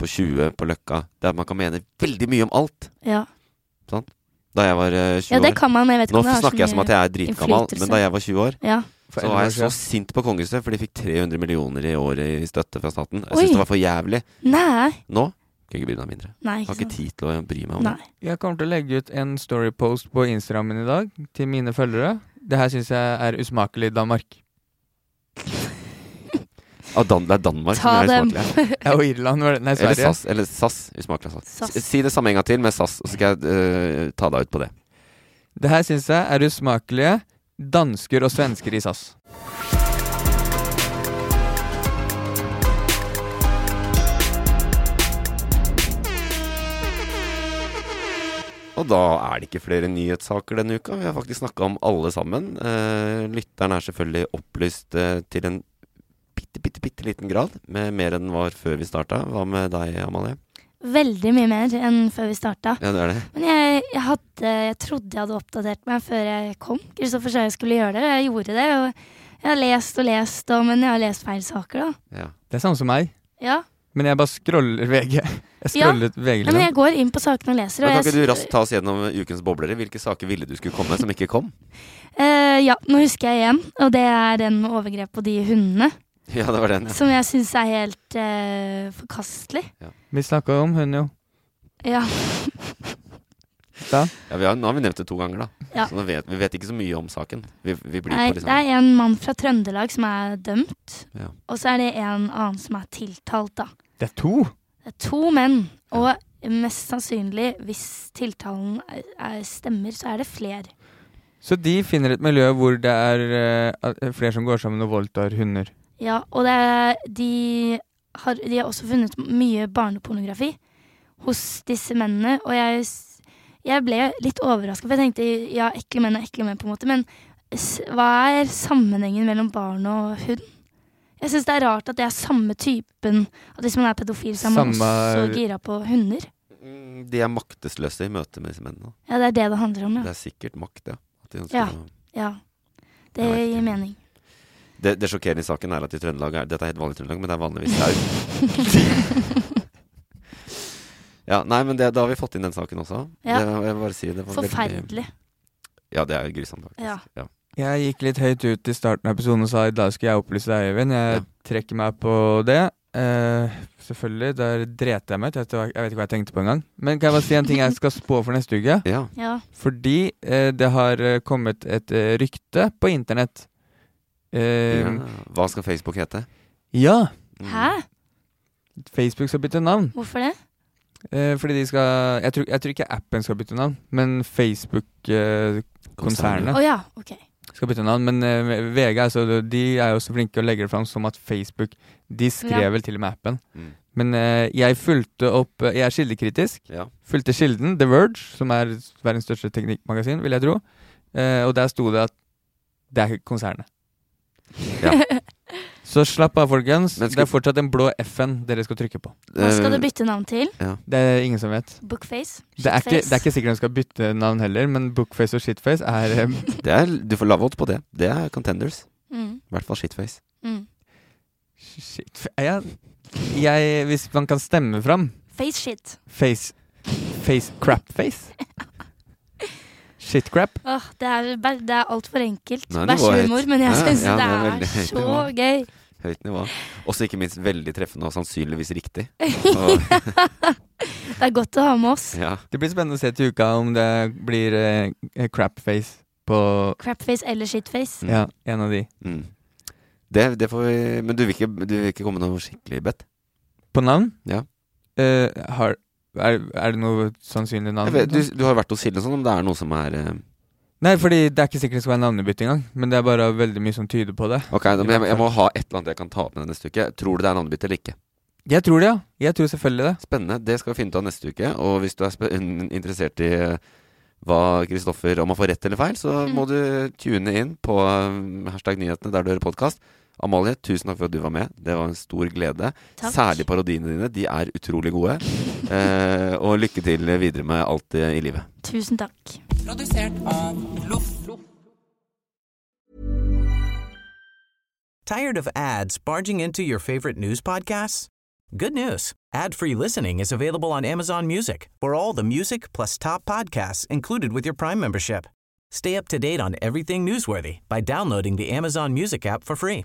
C: på 20 på Løkka. Det er at man kan mene veldig mye om alt.
G: Ja.
C: Da jeg var eh, 20
G: ja, det
C: år
G: kan man, men jeg vet
C: Nå
G: ikke om det har
C: snakker jeg som at jeg er dritgammal,
G: innflytelse.
C: men da jeg var 20 år,
G: Ja.
E: For
C: så var jeg
E: ellers
C: så
E: er-
C: sint på kongehuset, for de fikk 300 millioner i året i støtte fra staten. Jeg
G: Oi.
C: syns det var for jævlig.
G: Nei.
C: Nå kan jeg ikke bry meg mindre.
G: Nei,
C: Jeg
G: ikke
C: har ikke
G: sant.
C: tid til å bry meg om det.
G: Nei.
E: Jeg kommer til å legge ut en storypost på Instagrammen i dag til mine følgere. Det her syns jeg er usmakelig i Danmark.
C: Ah, Dan, det er Danmark som
G: Ta
C: er
G: dem.
C: usmakelig her.
E: Ja, og Irland var det. Nei,
C: Eller
E: Sverige.
C: SAS. Eller SAS. Usmakelig av SAS.
G: SAS.
C: S- Si det samme en gang til med SAS, og så skal jeg eh, ta deg ut på det.
E: Det her syns jeg er usmakelige dansker og svensker i SAS.
C: Og da er det ikke flere nyhetssaker denne uka. Vi har faktisk snakka om alle sammen. Eh, lytteren er selvfølgelig opplyst eh, til en bitte, bitte, bitte liten grad. Med mer enn den var før vi starta. Hva med deg, Amalie?
G: Veldig mye mer enn før vi starta.
C: Ja, det er det.
G: Men jeg, jeg, hadde, jeg trodde jeg hadde oppdatert meg før jeg kom. Kristoffer sa jeg skulle gjøre det, og jeg gjorde det. Og jeg har lest og lest, og, men jeg har lest feil saker, da.
C: Ja.
E: Det er samme som meg,
G: Ja.
E: men jeg bare scroller VG. Jeg
G: Ja.
E: scrollet VG.
G: Nei, men jeg går inn på sakene og leser.
C: Men
G: Og
C: kan ikke du
G: jeg,
C: raskt ta oss gjennom ukens boblere? Hvilke saker ville du skulle komme, som ikke kom?
G: Eh, ja, nå husker jeg igjen, og det er den med overgrep på de hundene.
C: Ja, det var den. ja.
G: Som jeg syns er helt eh, forkastelig.
E: Vi snakka om hun, jo.
G: Ja.
E: Da.
C: Ja, vi har, nå har vi nevnt det to ganger, da.
G: Ja.
C: Så nå vet, vi vet ikke så mye om saken. Vi, vi blir
G: Nei,
C: på
G: det
C: liksom.
G: er en mann fra Trøndelag som er dømt.
C: Ja.
G: Og så er det en annen som er tiltalt, da.
E: Det er to!
G: Det er to menn, og mest sannsynlig, hvis tiltalen er, er, stemmer, så er det flere.
E: Så de finner et miljø hvor det er eh, flere som går sammen og voldtar hunder.
G: Ja, og det er, de, har, de har også funnet mye barnepornografi hos disse mennene, og jeg, s- jeg ble litt overraska, for jeg tenkte ja, ekle menn er ekle menn, på en måte, men s- hva er sammenhengen mellom barn og hund? Jeg syns det er rart at det er samme typen. At hvis man er pedofil, så er man
E: Samme-
G: også gira på hunder.
C: Mm, De er maktesløse i møte med disse mennene.
G: Ja, det er det det handler om, ja.
C: Det er sikkert makt, ja. At de ønsker
G: Ja.
C: å-
G: ja.
C: Jeg
G: Det
C: vet ikke.
G: gir mening.
C: Det, det sjokkerende i saken er at i Trøndelag er, Dette er helt vanlig i Trøndelag, men det er vanligvis sau. ja, nei, men det, da har vi fått inn den saken også.
G: Ja.
C: Det, jeg vil bare si, det var veldig-
G: Forferdelig.
C: Ja, det er jo grusomt, faktisk.
G: Ja.
C: Ja.
E: Jeg gikk litt høyt ut i starten av episoden og sa i dag skal jeg opplyse deg, Øyvind. Jeg
C: Ja.
E: trekker meg på det. Eh, selvfølgelig. Der drete jeg meg ut. Jeg vet ikke hva- jeg vet ikke hva jeg tenkte på engang. Men kan jeg bare si en ting jeg skal spå for neste uke?
C: ja.
G: Ja.
E: Fordi eh, det har eh, kommet et eh, rykte på internett. Eh,
C: ja. Hva skal Facebook hete?
E: ja.
C: Mm.
G: Hæ?
E: Facebook skal bytte navn.
G: Hvorfor det?
E: Eh, fordi de skal jeg tror, jeg tror ikke appen skal bytte navn, men eh, Facebook-konsernet
G: Å ja, ok.
E: skal bytte navn. Men eh, VG er så, de er jo så flinke å legge det fram som at Facebook De skrev
G: Ja.
E: vel til og med appen.
C: Mm.
E: Men eh, jeg fulgte opp eh, Jeg er kildekritisk.
C: Ja.
E: Fulgte kilden The Verge, som er verdens største teknikkmagasin, vil jeg tro. Eh, og der sto det at det er konsernet.
C: Ja.
E: Så slapp av, folkens.
C: Men
E: Det
C: skal-
E: er fortsatt en blå FN dere skal trykke på.
G: Hva skal
C: Eh,
G: du bytte navn til?
E: Det er ingen som vet.
G: Bookface?
E: Det er, ikke,
G: Shitface?
E: det er ikke sikkert hun skal bytte navn heller, men Bookface og Shitface er eh,
C: det er, du får lave odds på det. Det er contenders.
G: mm,
C: I hvert fall shitface.
G: mm.
E: Shit jeg, jeg, Hvis man kan stemme fram
G: Face shit.
E: Face Face Crapface? Shitcrap?
G: Åh, det er, bæ- det er altfor enkelt.
C: Nei, det var
G: Bæsjehumor,
C: høyt.
G: men jeg
C: Ja,
G: syns
C: ja,
G: det
C: det er
G: er
C: veldig høyt
G: så
C: nivå.
G: gøy.
C: Høyt nivå. Også ikke minst veldig treffende og sannsynligvis riktig. Og,
G: Det er godt å ha med oss.
C: ja.
E: Det blir spennende å se til uka om det blir eh, crapface på
G: Crapface eller shitface.
C: Mm.
E: ja, en av de.
C: Mm. Det, det får vi Men du vil ikke, du vil ikke komme med noe skikkelig bedt?
E: På navn?
C: Ja.
E: Eh, har, er, er det noe sannsynlig
C: Jeg
E: navn?
C: vet, du, du har vært hos Silde og sånn, om det er noe som er eh,
E: Nei, fordi det er ikke sikkert det skal være navnebytte engang. Men det er bare veldig mye som tyder på det.
C: Ok, da, men jeg, jeg må ha et eller annet jeg kan ta opp med neste uke. Tror du det er navnebytte eller ikke?
E: Jeg tror det, ja. Jeg tror selvfølgelig det.
C: Spennende. Det skal vi finne ut av neste uke. Og hvis du er spe interessert i eh, hva Kristoffer Om han får rett eller feil, så må du tune inn på eh, hashtag nyhetene der du hører podkast. Amalie, tusen takk for at du var med. Det var en stor glede.
G: Takk.
C: Særlig parodiene dine. De er utrolig gode. Eh, og lykke til videre med alt det i livet.
G: Tusen takk.
I: Produsert av Loff.
H: Tired of ads barging into your favorite news podcasts? Good news. Ad-free listening is available on Amazon Music for all the music plus top podcasts included with your Prime membership. Stay up to date on everything newsworthy by downloading the Amazon Music app for free